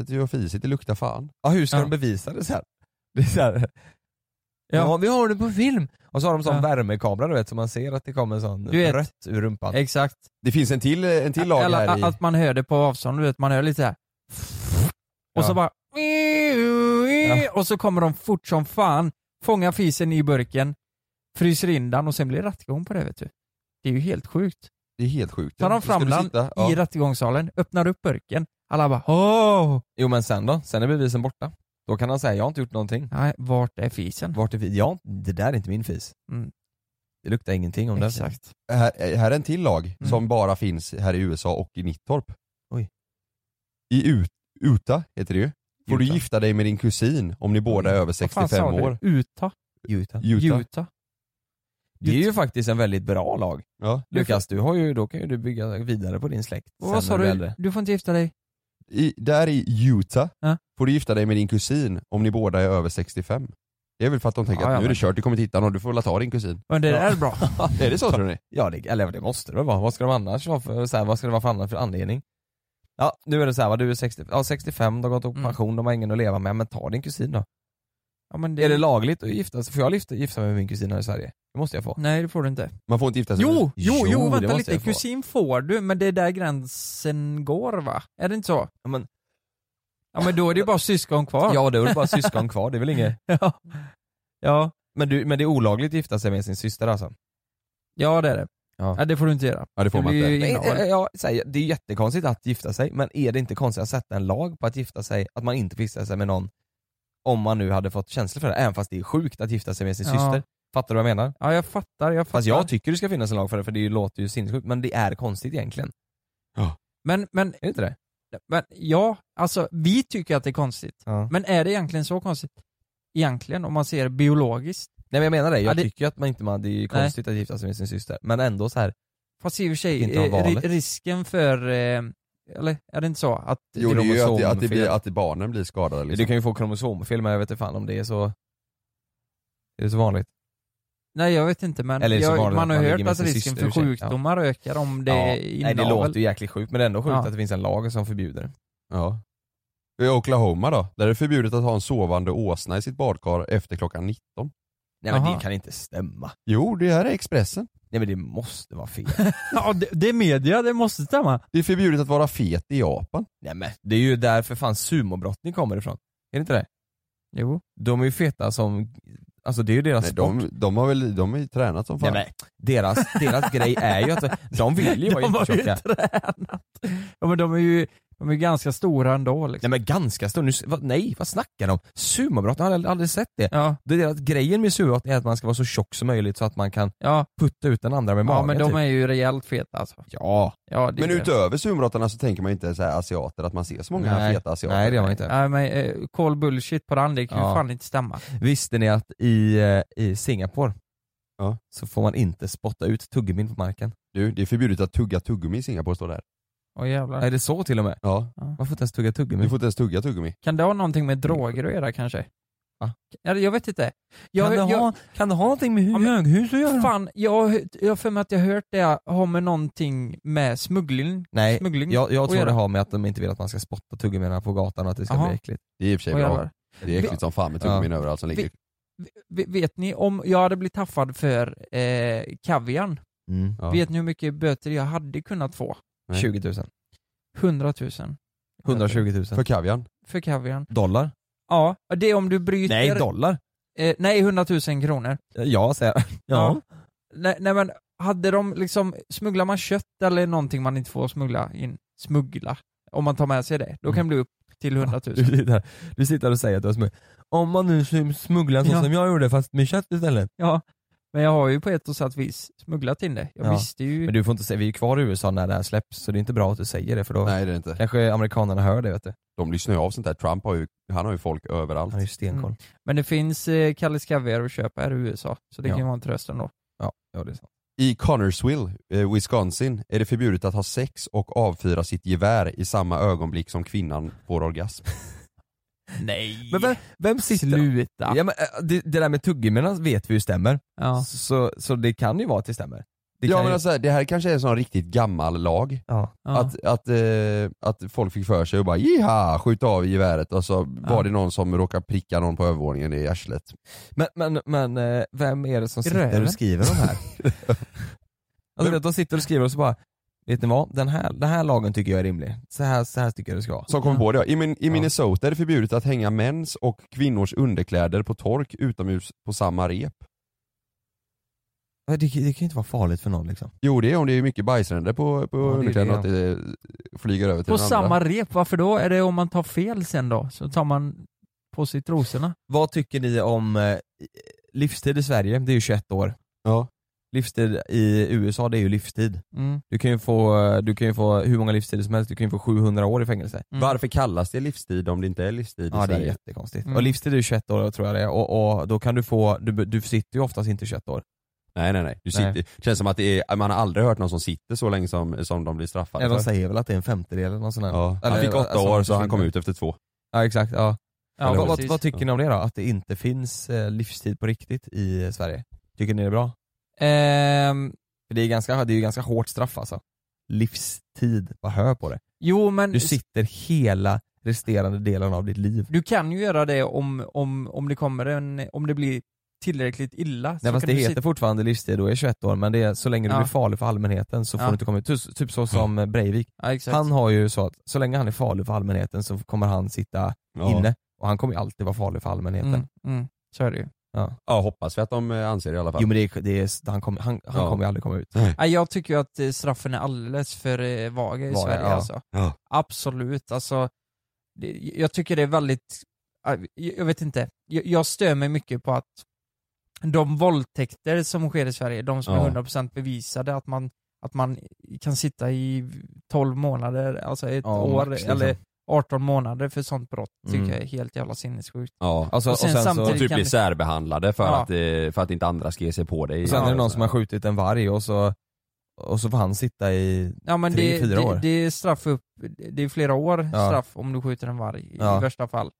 Speaker 6: att du har fisit, det luktar fan.
Speaker 4: Ja hur ska
Speaker 5: Ja.
Speaker 4: de bevisa det sen? Det är så här. Ja. vi har det på film! Och så har de sån
Speaker 5: Ja.
Speaker 4: värmekamera du vet, så man ser att det kommer sån
Speaker 5: Du vet.
Speaker 4: rött ur rumpan.
Speaker 5: Exakt.
Speaker 6: Det finns en till, en till lag
Speaker 5: Eller
Speaker 6: här i...
Speaker 5: att man hör det på avstånd, du vet, man hör lite så här. Och så
Speaker 4: Ja.
Speaker 5: bara... Och så kommer de fort som fan, fångar fisen i burken, fryser in den och sen blir det rättegång på det vet du. Det är ju helt sjukt.
Speaker 6: Det är helt sjukt.
Speaker 5: Tar de
Speaker 6: Ska du
Speaker 5: fram den
Speaker 6: sitta? Ja.
Speaker 5: i rättegångssalen, öppnar upp burken, alla bara åh!
Speaker 4: Jo men sen då? Sen är bevisen borta. Då kan han säga jag har inte gjort någonting.
Speaker 5: Nej, vart är fisen?
Speaker 4: Vart är fis? Ja, det där är inte min fis.
Speaker 5: Mm.
Speaker 4: Det luktar ingenting om det.
Speaker 5: Exakt.
Speaker 6: här, här är en till lag
Speaker 5: Mm.
Speaker 6: som bara finns här i USA och i Nittorp.
Speaker 4: Oj.
Speaker 6: I Ut, Uta heter det ju. Får du
Speaker 4: Utah.
Speaker 6: gifta dig med din kusin om ni båda är över
Speaker 5: Vad fan
Speaker 6: 65
Speaker 5: sa du?
Speaker 6: år.
Speaker 5: Utah?
Speaker 4: Utah.
Speaker 6: Utah.
Speaker 5: Utah.
Speaker 4: Det är ju faktiskt en väldigt bra lag.
Speaker 6: Ja.
Speaker 4: Lukas, du har ju, då kan ju du bygga vidare på din släkt.
Speaker 5: Och
Speaker 4: sen
Speaker 5: Vad
Speaker 4: när
Speaker 5: sa
Speaker 4: blir
Speaker 5: du?
Speaker 4: äldre.
Speaker 5: Du får inte gifta dig?
Speaker 6: I, där i Utah
Speaker 5: Ja.
Speaker 6: får du gifta dig med din kusin om ni båda är över 65. Det är väl för att de tänker
Speaker 5: Ja,
Speaker 6: att
Speaker 5: ja,
Speaker 6: nu är det
Speaker 5: men-
Speaker 6: kört, du kommer inte hitta någon, du får väl ta din kusin.
Speaker 5: Men det där är bra.
Speaker 6: är det så tror ni?
Speaker 4: Ja, det, eller det måste det väl vara. Vad ska de annars vara för, så här, vad ska det vara för annan för anledning? Ja, nu är det så här, vad, du är 60, ja, 65, du har gått upp i
Speaker 5: Mm.
Speaker 4: pension, de har ingen att leva med, men ta din kusin då.
Speaker 5: Ja, men
Speaker 4: Är det lagligt att gifta sig? Får jag gifta, gifta mig med min kusin här i Sverige? Det måste jag få.
Speaker 5: Nej, det får du inte.
Speaker 6: Man får inte gifta sig med...
Speaker 5: Jo, jo,
Speaker 4: Alltså, Jo,
Speaker 5: jo,
Speaker 4: det
Speaker 5: vänta
Speaker 4: måste
Speaker 5: lite.
Speaker 4: jag få.
Speaker 5: Kusin får du, men det är där gränsen går va? Är det inte så?
Speaker 4: Ja, men-
Speaker 5: ja, men då är det ju bara syskon kvar.
Speaker 4: Ja, då är det bara syskon kvar, det är väl inget.
Speaker 5: ja. ja,
Speaker 4: Men, du, men det är olagligt att gifta sig med sin syster alltså?
Speaker 5: ja det är det.
Speaker 4: Ja.
Speaker 5: Ja. det får du inte göra.
Speaker 6: Ja det får
Speaker 5: Det
Speaker 6: man
Speaker 5: blir
Speaker 6: inte.
Speaker 5: ju
Speaker 4: Nej,
Speaker 5: innehav.
Speaker 4: eh, ja, så här, det är jättekonstigt att gifta sig, men är det inte konstigt att sätta en lag på att gifta sig, att man inte får gifta sig med någon om man nu hade fått känslor för det, även fast det är sjukt att gifta sig med sin
Speaker 5: Ja.
Speaker 4: syster? Fattar du vad jag menar?
Speaker 5: Ja, jag fattar, jag fattar.
Speaker 4: Fast jag tycker det ska finnas en lag för det, för det låter ju sinnessjukt, men det är konstigt egentligen.
Speaker 5: men, men
Speaker 4: Är det inte det?
Speaker 5: Men ja, alltså vi tycker att det är konstigt. Men är det egentligen så konstigt? Egentligen, om man ser det biologiskt.
Speaker 4: Nej men jag menar det, jag
Speaker 5: Ja, det-
Speaker 4: tycker ju att man inte, man, det är ju konstigt att gifta sig med sin syster. Men ändå så här
Speaker 5: Fast i och för sig,
Speaker 4: Inte ha
Speaker 5: eh, ri-
Speaker 4: valet.
Speaker 5: risken för, eh, eller är det inte så? Att
Speaker 4: Jo, det är ju att-
Speaker 5: kromosomfel-
Speaker 4: att det blir- att
Speaker 6: barnen blir skadade liksom.
Speaker 4: Du kan ju få kromosomfel men jag vet inte fan om det är så... Är det så vanligt?
Speaker 5: Nej jag vet inte men
Speaker 4: Eller är det så
Speaker 5: jag,
Speaker 4: vanligt
Speaker 5: man har
Speaker 4: att man
Speaker 5: hört
Speaker 4: ligger med
Speaker 5: att
Speaker 4: sin
Speaker 5: risken
Speaker 4: syster?
Speaker 5: för
Speaker 4: Ursäkta.
Speaker 5: sjukdomar ökar om det är
Speaker 4: Nej det
Speaker 5: inavel.
Speaker 4: låter ju jäkligt sjukt men det är ändå sjukt
Speaker 5: Ja.
Speaker 4: att det finns en lag som förbjuder det.
Speaker 6: Ja. I Oklahoma då, där är det förbjudet att ha en sovande åsna i sitt badkar efter klockan 19.
Speaker 4: Nej men det kan inte stämma.
Speaker 6: Jo, det här är Expressen.
Speaker 4: Nej men det måste vara fel.
Speaker 5: Ja, det, det är media, det måste stämma.
Speaker 6: Det är förbjudet att vara fet i Japan.
Speaker 4: Nej men det är ju därför fan sumobrottning kommer ifrån. Är det inte det?
Speaker 5: Jo.
Speaker 4: De är ju feta som, alltså det är ju deras
Speaker 6: Nej,
Speaker 4: sport.
Speaker 6: de, de har väl de har ju tränat som
Speaker 4: Nej,
Speaker 6: fan.
Speaker 4: men, deras, deras grej är ju att de vill ju vara
Speaker 5: de har ju
Speaker 4: jättetjocka.
Speaker 5: tränat. Ja men de är ju, de är ju ganska stora ändå liksom.
Speaker 4: Nej men ganska stor, nu, vad, nej vad snackar de om? Sumobrott, jag har aldrig- aldrig sett det.
Speaker 5: Ja,
Speaker 4: det är deras, grejen med sumobrott är att man ska vara så tjock som möjligt så att man kan
Speaker 5: ja,
Speaker 4: putta ut den andra med magen
Speaker 5: ja men de
Speaker 4: typ.
Speaker 5: är ju rejält feta alltså.
Speaker 4: Ja,
Speaker 5: Ja, det
Speaker 6: Men
Speaker 5: är det.
Speaker 6: utöver sumorottarna så tänker man ju inte så här asiater, att man ser så många
Speaker 4: Nej.
Speaker 6: feta asiater.
Speaker 4: nej det gör man inte.
Speaker 5: Nej men eh, call bullshit på den, det kan ju
Speaker 4: Ja.
Speaker 5: fan inte stämma.
Speaker 4: Visste ni att i, eh, i Singapore
Speaker 6: Ja.
Speaker 4: så får man inte spotta ut tuggummin på marken?
Speaker 6: Du, det är förbjudet att tugga tuggummi i Singapore står det här.
Speaker 5: Åh jävlar.
Speaker 4: Är det så till och med?
Speaker 6: Ja.
Speaker 4: Man får inte ens tugga
Speaker 6: Du
Speaker 4: tuggummi.
Speaker 6: får inte ens tugga tuggummi.
Speaker 5: Kan det ha någonting med droger att göra kanske?
Speaker 4: Va?
Speaker 5: Eller jag vet inte. Jag,
Speaker 4: kan, det
Speaker 5: jag,
Speaker 4: ha, kan det ha någonting med
Speaker 5: Ja, men-
Speaker 4: höghus att göra?
Speaker 5: Fan, jag har hört- jag har för mig att jag har hört det har med någonting med smuggling
Speaker 4: Nej,
Speaker 5: smuggling
Speaker 4: jag, jag
Speaker 5: att
Speaker 4: tror
Speaker 5: göra.
Speaker 4: det har med att de inte vill att man ska spotta tuggummina på gatan och att det ska
Speaker 5: Jaha.
Speaker 4: bli äckligt.
Speaker 6: Det är i och för sig
Speaker 5: Åh,
Speaker 6: bra.
Speaker 5: jävlar.
Speaker 6: Det är äckligt som fan med tuggummin överallt som
Speaker 5: Vi-
Speaker 6: ligger.
Speaker 5: V- Vet ni, om jag hade blivit taffad för eh, kaviarn,
Speaker 4: Mm.
Speaker 6: Ja.
Speaker 5: vet ni hur mycket böter jag hade kunnat få?
Speaker 6: Nej.
Speaker 4: 20 000.
Speaker 5: 100 000
Speaker 4: 120 000.
Speaker 6: För kaviarn.
Speaker 5: för kaviarn.
Speaker 4: dollar?
Speaker 5: Ja, det är om du bryter...
Speaker 4: Nej, dollar.
Speaker 5: eh, nej 100 000 kronor.
Speaker 4: Ja, säger jag. Ja.
Speaker 5: Nej, nej men, hade de liksom, smugglar man kött eller någonting man inte får smuggla in, smuggla, om man tar med sig det,
Speaker 6: Mm.
Speaker 5: då kan det bli upp till 100 000.
Speaker 4: Du sitter, du sitter och säger att du har smugglat. Om man nu sm- smugglar så
Speaker 5: Ja.
Speaker 4: som jag gjorde fast med kött istället.
Speaker 5: Ja, men jag har ju på ett och satt vis smugglat in det. Jag
Speaker 4: Ja,
Speaker 5: visste ju...
Speaker 4: Men du får inte säga, vi är ju kvar i USA när det här släpps så det är inte bra att du säger det för då
Speaker 6: Nej det är det inte.
Speaker 4: kanske amerikanerna hör det vet du.
Speaker 6: De lyssnar ju av sånt där. Trump har ju, han har ju folk överallt.
Speaker 4: Han har ju stenkoll.
Speaker 5: Mm. Men det finns eh, Kalles Kaviar att köpa här i USA, så det
Speaker 4: Ja.
Speaker 5: kan ju vara en tröst ändå.
Speaker 4: Ja, ja det är sant.
Speaker 6: I Connorsville, eh, Wisconsin, är det förbjudet att ha sex och avfyra sitt gevär i samma ögonblick som kvinnan får orgasm.
Speaker 5: Nej!
Speaker 4: Men vem, vem sitter...
Speaker 5: Sluta!
Speaker 4: Ja, men, äh, det, det där med tuggummina vet vi ju stämmer.
Speaker 5: Ja.
Speaker 4: Så, så det kan ju vara att det stämmer. Det
Speaker 6: ja
Speaker 4: kan
Speaker 6: men
Speaker 4: ju...
Speaker 6: alltså, det här kanske är en sån riktigt gammal lag.
Speaker 4: ja.
Speaker 5: Ja.
Speaker 6: Att, att, eh, att folk fick för sig och bara jiha, skjut av geväret och så var det någon som råkade pricka någon på övervåningen i arslet.
Speaker 4: Men, men, men eh, vem är det som sitter
Speaker 5: röven?
Speaker 4: och skriver de här? alltså, de sitter och skriver och så bara, vet ni vad? Den här, den här lagen tycker jag är rimlig. Så här, så här tycker jag det ska vara.
Speaker 6: Som kom på det ja. I, min, I Minnesota är det förbjudet att hänga mäns och kvinnors underkläder på tork utomhus på samma rep.
Speaker 4: Det, det kan ju inte vara farligt för någon liksom.
Speaker 6: Jo det är om det är mycket bajsränder på, på
Speaker 4: det är
Speaker 6: underkläderna
Speaker 4: det.
Speaker 6: och att det flyger över till
Speaker 5: På
Speaker 6: den
Speaker 5: samma
Speaker 6: andra.
Speaker 5: rep, varför då? Är det om man tar fel sen då? Så tar man på sig trosorna?
Speaker 4: Vad tycker ni om eh, livstid i Sverige? Det är ju 21 år.
Speaker 6: Ja.
Speaker 4: Livstid i USA det är ju livstid.
Speaker 5: Mm.
Speaker 4: Du kan ju få, eh, du kan ju få hur många livstider som helst, du kan ju få 700 år i fängelse.
Speaker 5: Mm.
Speaker 6: Varför kallas det livstid om det inte är livstid i
Speaker 4: Ja det är
Speaker 6: Sverige?
Speaker 4: jättekonstigt.
Speaker 5: Mm.
Speaker 4: Och livstid är ju 21 år tror jag det är och, och då kan du få, du, du sitter ju oftast inte 21 år.
Speaker 6: Nej nej nej. Du
Speaker 4: Nej.
Speaker 6: sitter, känns som att det är, man har aldrig hört någon som sitter så länge som, som de blir straffade
Speaker 4: Ja, de
Speaker 6: för.
Speaker 4: säger väl att det är en femtedel eller något sånt där.
Speaker 6: Ja. Han
Speaker 4: Eller,
Speaker 6: fick åtta
Speaker 4: alltså,
Speaker 6: år
Speaker 4: de
Speaker 6: så han kom
Speaker 4: försvinner.
Speaker 6: ut efter två.
Speaker 4: Ja exakt, ja.
Speaker 5: Ja,
Speaker 4: vad, vad,
Speaker 5: precis.
Speaker 4: vad tycker ni om det då? Att det inte finns eh, livstid på riktigt i eh, Sverige? Tycker ni det är bra?
Speaker 5: Ehm,
Speaker 4: För det är, ganska, det är ju ganska hårt straff alltså. Livstid, vad hör på det.
Speaker 5: jo men...
Speaker 4: Du sitter hela resterande delen av ditt liv.
Speaker 5: Du kan ju göra det om, om, om det kommer en, om det blir tillräckligt illa. så
Speaker 4: Nej fast
Speaker 5: kan
Speaker 4: det
Speaker 5: du
Speaker 4: heter
Speaker 5: sitta-
Speaker 4: fortfarande livstid och är 21 år men det är så länge du
Speaker 5: Ja.
Speaker 4: blir farlig för allmänheten så får
Speaker 5: Ja.
Speaker 4: du inte komma ut. Ty- Typ så som eh, Breivik.
Speaker 5: ja, exakt.
Speaker 4: Han har ju så att så länge han är farlig för allmänheten så kommer han sitta
Speaker 6: Ja.
Speaker 4: inne och han kommer ju alltid vara farlig för allmänheten.
Speaker 5: mm, mm, så är det ju.
Speaker 4: Ja.
Speaker 6: Ja hoppas vi att de eh, anser det i alla fall.
Speaker 4: Jo men det, är- det är, han, kommer, han, han
Speaker 6: Ja.
Speaker 4: kommer ju aldrig komma ut.
Speaker 5: Nej, jag tycker ju att eh, straffen är alldeles för eh, vaga i
Speaker 4: Vaga,
Speaker 5: Sverige
Speaker 4: ja.
Speaker 5: alltså.
Speaker 6: Ja.
Speaker 5: Absolut, alltså. Det, jag tycker det är väldigt, eh, jag jag vet inte, jag, jag stör mig mycket på att de våldtäkter som sker i Sverige, de som
Speaker 6: Ja.
Speaker 5: är 100% bevisade att man att man kan sitta i 12 månader, alltså ett
Speaker 4: Ja,
Speaker 5: år
Speaker 4: max, liksom.
Speaker 5: eller 18 månader för sånt brott tycker
Speaker 6: Mm.
Speaker 5: jag är helt jävla sinnessjukt.
Speaker 6: Ja, alltså, och sen, så
Speaker 5: samtidigt
Speaker 6: typ
Speaker 5: kan
Speaker 6: bli
Speaker 5: det-
Speaker 6: särbehandlade för,
Speaker 5: Ja.
Speaker 6: att, eh, för att inte andra ska ge sig på dig.
Speaker 4: Och sen är det någon som har skjutit en varg och så, och så får han sitta i
Speaker 5: Ja men
Speaker 4: tre,
Speaker 5: det,
Speaker 4: fyra
Speaker 5: det,
Speaker 4: år.
Speaker 5: det är straff upp, det är flera år
Speaker 4: Ja.
Speaker 5: straff om du skjuter en varg i-
Speaker 4: Ja.
Speaker 5: i värsta fall.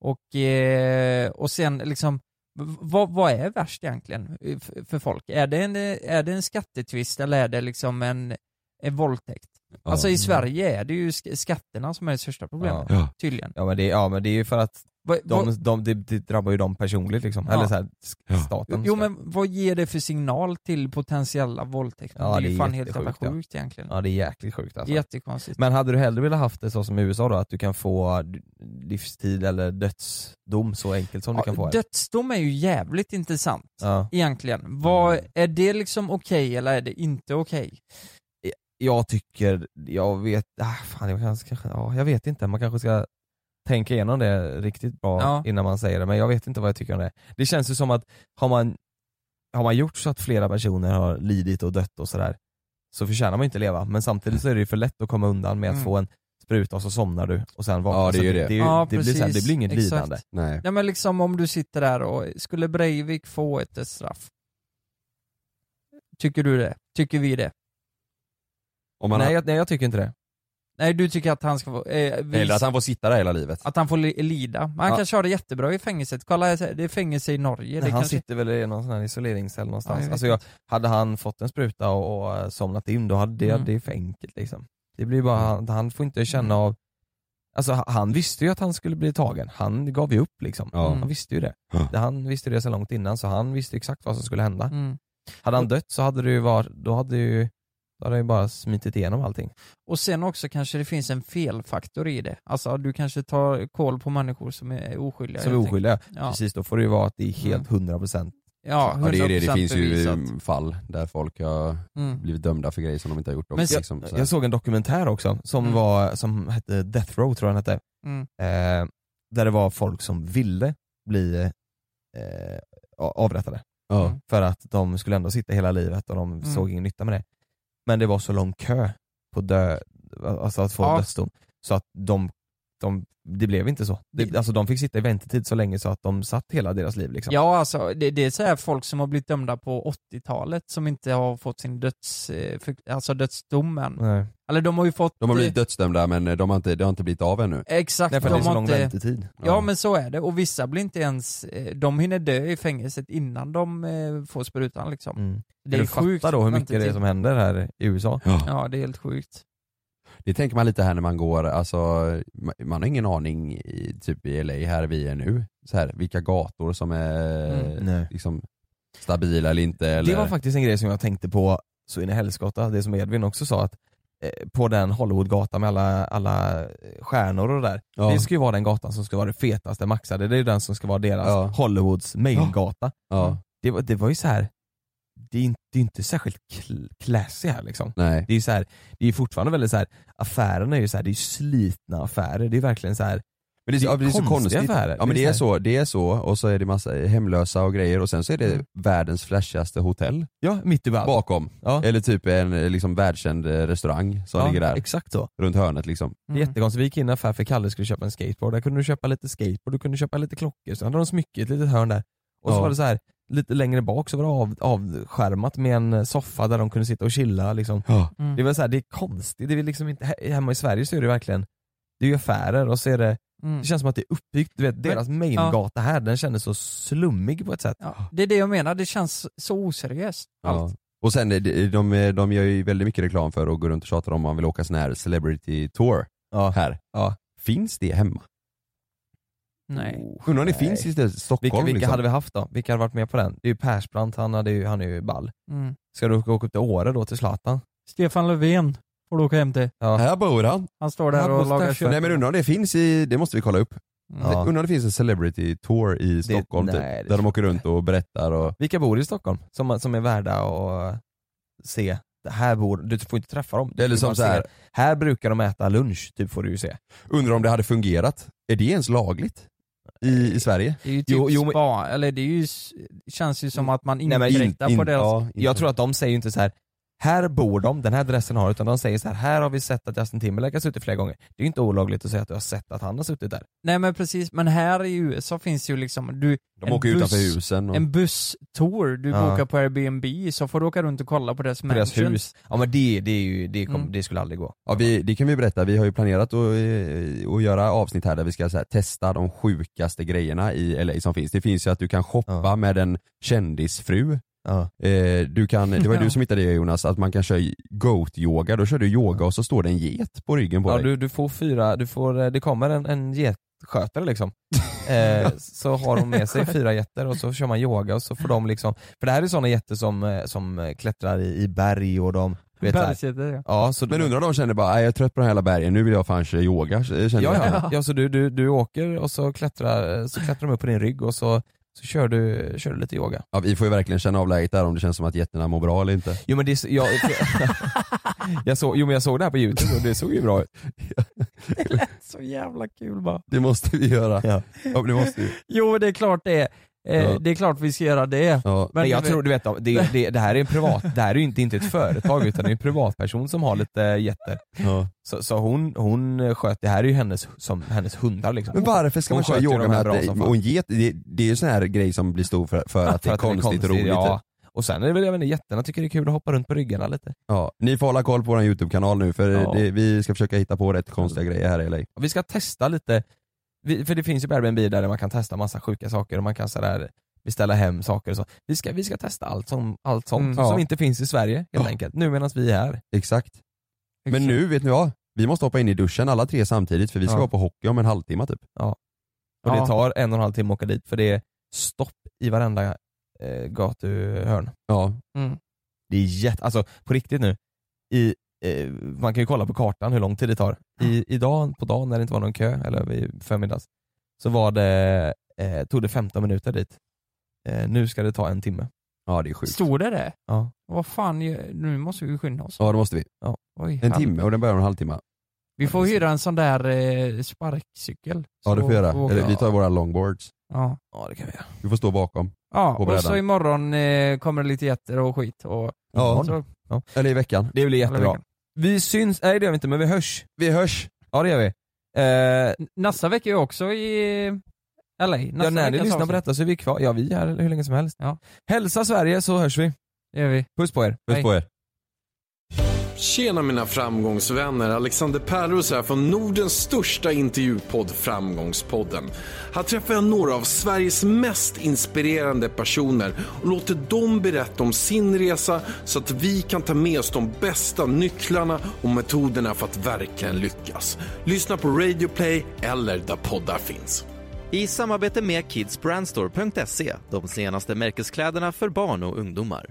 Speaker 5: Och, eh, och sen liksom, v- vad, vad är värst egentligen eh, f- för folk? Är det en, eh, är det en skattetvist eller är det liksom en, en våldtäkt?
Speaker 4: Ja.
Speaker 5: Alltså i
Speaker 4: Mm.
Speaker 5: Sverige är det ju sk- skatterna som är det största problemet,
Speaker 4: Ja.
Speaker 5: tydligen.
Speaker 4: Ja men det, ja, men det är ju för att
Speaker 5: Vad-
Speaker 4: de,
Speaker 5: vad-
Speaker 4: de, det, det drabbar ju dem personligt liksom,
Speaker 5: Ja.
Speaker 4: eller så här, sk- staten.
Speaker 5: Jo men vad ger det för signal till potentiella våldtäkter?
Speaker 4: Ja,
Speaker 5: det är ju
Speaker 4: det är
Speaker 5: fan helt jävla
Speaker 4: jättesjukt, ja.
Speaker 5: sjukt egentligen.
Speaker 4: Ja det är jäkligt sjukt alltså.
Speaker 5: Jättekonstigt.
Speaker 4: Men hade du hellre velat haft det så som i USA då, att du kan få livstid eller dödsdom så enkelt som du kan få här?
Speaker 5: Dödsdom är ju jävligt intressant
Speaker 4: Ja.
Speaker 5: egentligen. Vad, är det liksom okej eller är det inte okej?
Speaker 4: Jag tycker, jag vet, ah, fan jag kanske, kanske- ja, jag vet inte, man kanske ska tänka igenom det riktigt bra
Speaker 5: Ja.
Speaker 4: innan man säger det, men jag vet inte vad jag tycker om det. Det känns ju som att har man, har man gjort så att flera personer har lidit och dött och sådär, så förtjänar man inte leva, men samtidigt så är det ju för lätt att komma undan med att
Speaker 5: Mm.
Speaker 4: få en spruta och så somnar du och sen vaknar
Speaker 6: Ja, det är
Speaker 4: Så
Speaker 6: ju det.
Speaker 4: Det, är ju-
Speaker 5: Ja,
Speaker 4: det, blir, så här, det
Speaker 5: precis.
Speaker 4: blir inget
Speaker 5: Exakt.
Speaker 4: lidande.
Speaker 6: Nej.
Speaker 5: Ja men liksom om du sitter där och, skulle Breivik få ett dödsstraff? Tycker du det? Tycker vi det?
Speaker 6: Om man
Speaker 4: nej,
Speaker 6: har,
Speaker 4: jag, nej jag tycker inte det.
Speaker 5: Nej du tycker att han ska få, eh, vi-
Speaker 6: eller att han får sitta där hela livet.
Speaker 5: att han får li- lida. Men han
Speaker 4: Ja.
Speaker 5: kanske har det jättebra i fängelset. Kolla, här, det är fängelse i Norge. det
Speaker 4: Nej, han
Speaker 5: kanske...
Speaker 4: sitter väl i någon sån här isoleringscell
Speaker 5: Ja,
Speaker 4: någonstans.
Speaker 5: jag vet
Speaker 4: alltså jag, hade han fått en spruta och, och eh, somnat in, då hade det,
Speaker 5: Mm.
Speaker 4: det är för enkelt liksom. Det blir bara, han, han får inte känna av, alltså ha- han visste ju att han skulle bli tagen. Han gav ju upp liksom.
Speaker 6: Ja.
Speaker 4: Han visste ju det.
Speaker 6: Ja.
Speaker 4: Det- Han visste det så långt innan så han visste exakt vad som skulle hända.
Speaker 5: Mm.
Speaker 4: Hade han dött så hade det ju varit, då hade det ju, då hade det ju bara smitit igenom allting.
Speaker 5: Och sen också kanske det finns en felfaktor i det. Alltså du kanske tar koll på människor som är oskyldiga.
Speaker 4: Som är
Speaker 5: helt enkelt.
Speaker 4: oskyldiga.
Speaker 5: Ja, Mm.
Speaker 4: Precis, då får det ju vara att det är helt 100%
Speaker 5: ja, 100%
Speaker 6: Ja, det är ju det, det finns ju
Speaker 5: bevisat.
Speaker 6: eh, fall där folk har
Speaker 5: Mm.
Speaker 6: blivit dömda för grejer som de inte har gjort. Och
Speaker 5: Men jag-
Speaker 6: liksom, så här.
Speaker 4: Jag såg en dokumentär också som,
Speaker 5: Mm.
Speaker 4: var, som hette Death Row tror jag den hette.
Speaker 5: Mm.
Speaker 4: Eh, där det var folk som ville bli eh, a- avrättade.
Speaker 6: Ja.
Speaker 4: För att de skulle ändå sitta hela livet och de
Speaker 5: Mm.
Speaker 4: såg ingen nytta med det. Men det var så lång kö på dö, alltså att få
Speaker 5: Ja.
Speaker 4: dödsdom så att de, de, det blev inte så. Det, alltså de fick sitta i väntetid så länge så att de satt hela deras liv. Liksom.
Speaker 5: Ja alltså, det, det är så här folk som har blivit dömda på 80-talet som inte har fått sin döds, eh, för, alltså dödsdom än.
Speaker 4: Nej.
Speaker 5: Eller de har ju fått...
Speaker 6: De har blivit
Speaker 5: eh,
Speaker 6: dödsdömda men eh, de har inte, det har inte blivit av ännu.
Speaker 5: Exakt,
Speaker 4: Nej, för det är
Speaker 5: de
Speaker 4: så
Speaker 5: har
Speaker 4: lång
Speaker 5: inte...
Speaker 4: väntetid.
Speaker 5: Ja men så är det, och vissa blir inte ens, eh, de hinner dö i fängelset innan de eh, får sprutan liksom.
Speaker 4: Mm.
Speaker 5: Det är
Speaker 4: du
Speaker 5: sjukt. typ-
Speaker 4: fattar då hur mycket det är
Speaker 5: väntetid.
Speaker 4: som händer här i USA.
Speaker 5: Ja det är helt sjukt.
Speaker 6: Det tänker man lite här när man går, alltså ma- man har ingen aning i, typ i LA här vi är nu, så här, vilka gator som är
Speaker 5: Mm.
Speaker 4: Nej.
Speaker 6: liksom, stabila eller inte. Eller,
Speaker 4: Det var faktiskt en grej som jag tänkte på så in i helskotta, det som Edvin också sa att eh, på den Hollywoodgatan med alla, alla eh, stjärnor och det där.
Speaker 6: ja.
Speaker 4: Det ska ju vara den gatan som ska vara det fetaste maxade, det är ju den som ska vara deras
Speaker 6: Ja.
Speaker 4: Hollywoods Mm. maingata.
Speaker 6: ja,
Speaker 4: Det, var- det var ju så här. Det är, inte, det är inte särskilt cl- classy här liksom.
Speaker 6: nej.
Speaker 4: Det är ju så här, det är fortfarande väldigt så här, affärerna är ju så här, det är ju slitna affärer, det är verkligen så här.
Speaker 6: Men det, är-
Speaker 4: det är
Speaker 6: ja, det är så
Speaker 4: konstiga
Speaker 6: konstigt.
Speaker 4: affärer.
Speaker 6: Ja men det är
Speaker 4: här-
Speaker 6: så, det är så och så är det massa hemlösa och grejer och sen så är det världens flashigaste hotell
Speaker 4: Mm. Ja, mitt i allt.
Speaker 6: bakom.
Speaker 4: Ja.
Speaker 6: Eller typ en eh, liksom, världskänd eh, restaurang som
Speaker 4: Ja,
Speaker 6: ligger där
Speaker 4: Exakt så.
Speaker 6: runt hörnet liksom.
Speaker 4: Det är Jättekonstigt, vi gick in i en affär för Kalle skulle köpa en skateboard, där kunde du köpa lite skateboard, du kunde köpa lite klockor, så hade de smycke i ett litet hörn där. Och så
Speaker 6: Ja.
Speaker 4: var det så här lite längre bak så var det av, avskärmat med en eh, soffa där de kunde sitta och chilla liksom.
Speaker 6: Ja.
Speaker 5: Mm.
Speaker 4: Det var så här, det är konstigt, det är liksom inte, he- hemma i Sverige så är det verkligen, det är ju affärer och så är det,
Speaker 5: Mm.
Speaker 4: det känns som att det är uppbyggt, du vet deras maingata här den kändes så slummig på ett sätt.
Speaker 5: Ja, det är det jag menar, det känns så oseriöst.
Speaker 6: Ja.
Speaker 5: Allt.
Speaker 6: Och sen, eh, de, de, de gör ju väldigt mycket reklam för att gå runt och tjata om man vill åka sån här celebrity tour
Speaker 4: Ja.
Speaker 6: här.
Speaker 4: Ja.
Speaker 6: Finns det hemma?
Speaker 5: Nej.
Speaker 6: Undrar om det
Speaker 4: Oh, Nej.
Speaker 6: finns i stället- Stockholm
Speaker 4: Vilka, vilka
Speaker 6: liksom.
Speaker 4: hade vi haft då? Vilka hade varit med på den? Det är ju Persbrandt, han, hade ju, han är ju ball.
Speaker 5: Mm.
Speaker 4: Ska du åka åka upp till Åre då till Zlatan?
Speaker 5: Stefan Löfven får du åka hem till.
Speaker 4: Ja.
Speaker 6: Här bor han.
Speaker 5: Han står där
Speaker 4: Han
Speaker 5: och
Speaker 4: måste
Speaker 5: lagar
Speaker 4: ha-
Speaker 5: kött.
Speaker 6: Nej men undrar om det finns i, det måste vi kolla upp.
Speaker 5: Mm.
Speaker 4: Ja.
Speaker 6: Undrar om det finns en celebrity tour i Stockholm
Speaker 4: nej,
Speaker 6: typ,
Speaker 4: det
Speaker 6: där
Speaker 4: tror
Speaker 6: de åker runt och berättar och
Speaker 4: Vilka bor i Stockholm som, som är värda att se? Det här bor, du får inte träffa dem. Du
Speaker 6: Eller
Speaker 4: får
Speaker 6: som
Speaker 4: bara
Speaker 6: liksom så här-
Speaker 4: se. här brukar de äta lunch, typ får du ju se.
Speaker 6: undrar om det hade fungerat. Är det ens lagligt? I, i Sverige?
Speaker 5: Det är ju typ
Speaker 4: Jo, jo, men-
Speaker 5: spa, eller det är ju, s- känns ju som att man
Speaker 4: men
Speaker 5: inkräktar
Speaker 6: In-
Speaker 5: på
Speaker 6: in-
Speaker 5: deras...
Speaker 6: ja, inte.
Speaker 4: Jag tror att de säger ju inte så här. här bor de, den här adressen har, utan de säger så här, här har vi sett att Justin Timberlake har suttit flera gånger. Det är ju inte olagligt att säga att du har sett att han har suttit där.
Speaker 5: Nej men precis, men här i USA finns ju liksom, du,
Speaker 6: De
Speaker 5: en
Speaker 6: åker
Speaker 5: buss-
Speaker 6: utanför Mm. husen och...
Speaker 5: en busstour du
Speaker 4: Ja.
Speaker 5: bokar på Airbnb så får du åka runt och kolla på deras
Speaker 4: På deras
Speaker 5: mansions.
Speaker 4: hus. Ja men det, det, är ju, det, kom,
Speaker 5: Mm.
Speaker 4: det skulle aldrig gå.
Speaker 6: Ja, vi, det kan vi berätta, vi har ju planerat att, eh, att göra avsnitt här där vi ska så här, testa de sjukaste grejerna i LA som finns. Det finns ju att du kan shoppa
Speaker 4: Ja.
Speaker 6: med en kändisfru.
Speaker 4: Ja.
Speaker 6: Eh, du kan, det var ju
Speaker 5: Ja.
Speaker 6: du som hittade det Jonas, att man kan köra goat-yoga, då kör du yoga och så står det en get på ryggen på
Speaker 4: Ja,
Speaker 6: dig.
Speaker 4: du, du får fyra, du får, eh, det kommer en, en getskötare liksom. eh, så har hon med sig fyra getter och så kör man yoga och så får de liksom, för det här är sådana getter som, eh, som eh, klättrar i, i berg och de, du vet så här.
Speaker 5: Bergskedjor, ja.
Speaker 4: Ja, så
Speaker 6: Men undrar om de känner bara, "Nej, jag är trött på den här hela bergen, nu vill jag fan köra yoga. Känner
Speaker 4: ja,
Speaker 6: jag.
Speaker 4: ja. ja, så du, du, du åker och så klättrar, eh, så klättrar de upp på din rygg och så, så kör, du, kör du lite yoga.
Speaker 6: Ja, vi får ju verkligen känna av läget där om det känns som att getterna mår bra eller inte.
Speaker 4: Jo men, det, är så- jag, jag såg, jo men jag såg det här på youtube och det såg ju bra ut.
Speaker 5: Så jävla kul bara.
Speaker 6: Det måste vi göra.
Speaker 4: Ja.
Speaker 6: Ja, det måste vi.
Speaker 5: Jo det är klart det är. Eh,
Speaker 6: Ja.
Speaker 5: Det är klart vi ska göra det.
Speaker 6: Ja.
Speaker 4: Men
Speaker 5: Men
Speaker 4: jag
Speaker 5: du
Speaker 4: tror, du vet, det, det, det här är en privat, det här är ju inte, inte ett företag utan det är en privatperson som har lite getter.
Speaker 6: Ja.
Speaker 4: Så, så hon, hon sköt, det här är ju hennes, som, hennes hundar liksom.
Speaker 6: Men varför ska
Speaker 4: Hon
Speaker 6: man köra
Speaker 4: sköter ju
Speaker 6: yoga
Speaker 4: de här
Speaker 6: med
Speaker 4: bra
Speaker 6: att,
Speaker 4: som fan.
Speaker 6: och en get, det, det är ju sån här grej som blir stor för, för att det är konstigt, och roligt.
Speaker 4: Ja.
Speaker 6: Ja.
Speaker 4: Och sen är det väl, jag vet inte, getterna tycker det är kul att hoppa runt på ryggarna lite.
Speaker 6: Ni får hålla koll på vår YouTube-kanal nu för
Speaker 4: Ja.
Speaker 6: det, vi ska försöka hitta på rätt konstiga grejer här i LA.
Speaker 4: Och vi ska testa lite, vi, för det finns ju på Airbnb där man kan testa massa sjuka saker och man kan sådär beställa hem saker och så. Vi ska, vi ska testa allt, som, allt sånt
Speaker 5: Mm.
Speaker 4: som
Speaker 6: Ja.
Speaker 4: inte finns i Sverige helt
Speaker 6: Ja.
Speaker 4: enkelt, nu medan vi är här.
Speaker 6: Exakt. Men nu, vet ni vad? Vi måste hoppa in i duschen alla tre samtidigt för vi ska
Speaker 4: Ja.
Speaker 6: vara på hockey om en halvtimme typ.
Speaker 4: Och
Speaker 5: Ja.
Speaker 4: det tar en och en halv timme att åka dit för det är stopp i varenda eh, gatuhörn.
Speaker 6: Ja.
Speaker 5: Mm.
Speaker 4: Det är jätte, alltså på riktigt nu, i, eh, man kan ju kolla på kartan hur lång tid det tar. I, idag på dagen när det inte var någon kö, eller i förmiddags, så var det, eh, tog det 15 minuter dit. Eh, nu ska det ta en timme.
Speaker 6: Ja det är sjukt.
Speaker 5: Stod det det?
Speaker 4: Ja.
Speaker 5: Vad fan, ju- nu måste vi skynda oss.
Speaker 6: Ja det måste vi.
Speaker 5: Oj,
Speaker 6: En
Speaker 5: här-
Speaker 6: timme och den börjar om en halvtimme.
Speaker 5: Vi får hyra en sån där eh, sparkcykel.
Speaker 6: Ja det får vi göra.
Speaker 5: och-
Speaker 6: Eller vi tar våra longboards.
Speaker 5: Ja.
Speaker 4: Ja det kan vi göra.
Speaker 6: Vi får stå bakom.
Speaker 5: ja
Speaker 6: På
Speaker 5: och
Speaker 6: brädan.
Speaker 5: så imorgon eh, kommer det lite getter och skit. Och,
Speaker 6: Ja.
Speaker 5: så,
Speaker 6: Eller i veckan.
Speaker 4: Det blir
Speaker 5: alla
Speaker 4: jättebra.
Speaker 5: veckor.
Speaker 4: Vi syns, nej det gör vi inte men vi hörs.
Speaker 6: Vi hörs!
Speaker 4: Ja det gör vi. Eh,
Speaker 5: Nästa vecka är jag också i LA. Nästa
Speaker 4: ja, när ni
Speaker 5: veckas
Speaker 4: lyssnar på
Speaker 5: avsnitt.
Speaker 4: detta så är vi kvar, ja vi är här hur länge som helst.
Speaker 5: Ja.
Speaker 4: Hälsa Sverige så hörs vi.
Speaker 5: Det gör vi.
Speaker 4: Puss på er.
Speaker 6: Puss
Speaker 5: Hej.
Speaker 6: på er.
Speaker 8: Tjena mina framgångsvänner, Alexander Pärlros här från Nordens största intervjupodd Framgångspodden. Här träffar jag några av Sveriges mest inspirerande personer och låter dem berätta om sin resa så att vi kan ta med oss de bästa nycklarna och metoderna för att verkligen lyckas. Lyssna på Radio Play eller där poddar finns.
Speaker 9: I samarbete med kidsbrandstore.se, de senaste märkeskläderna för barn och ungdomar.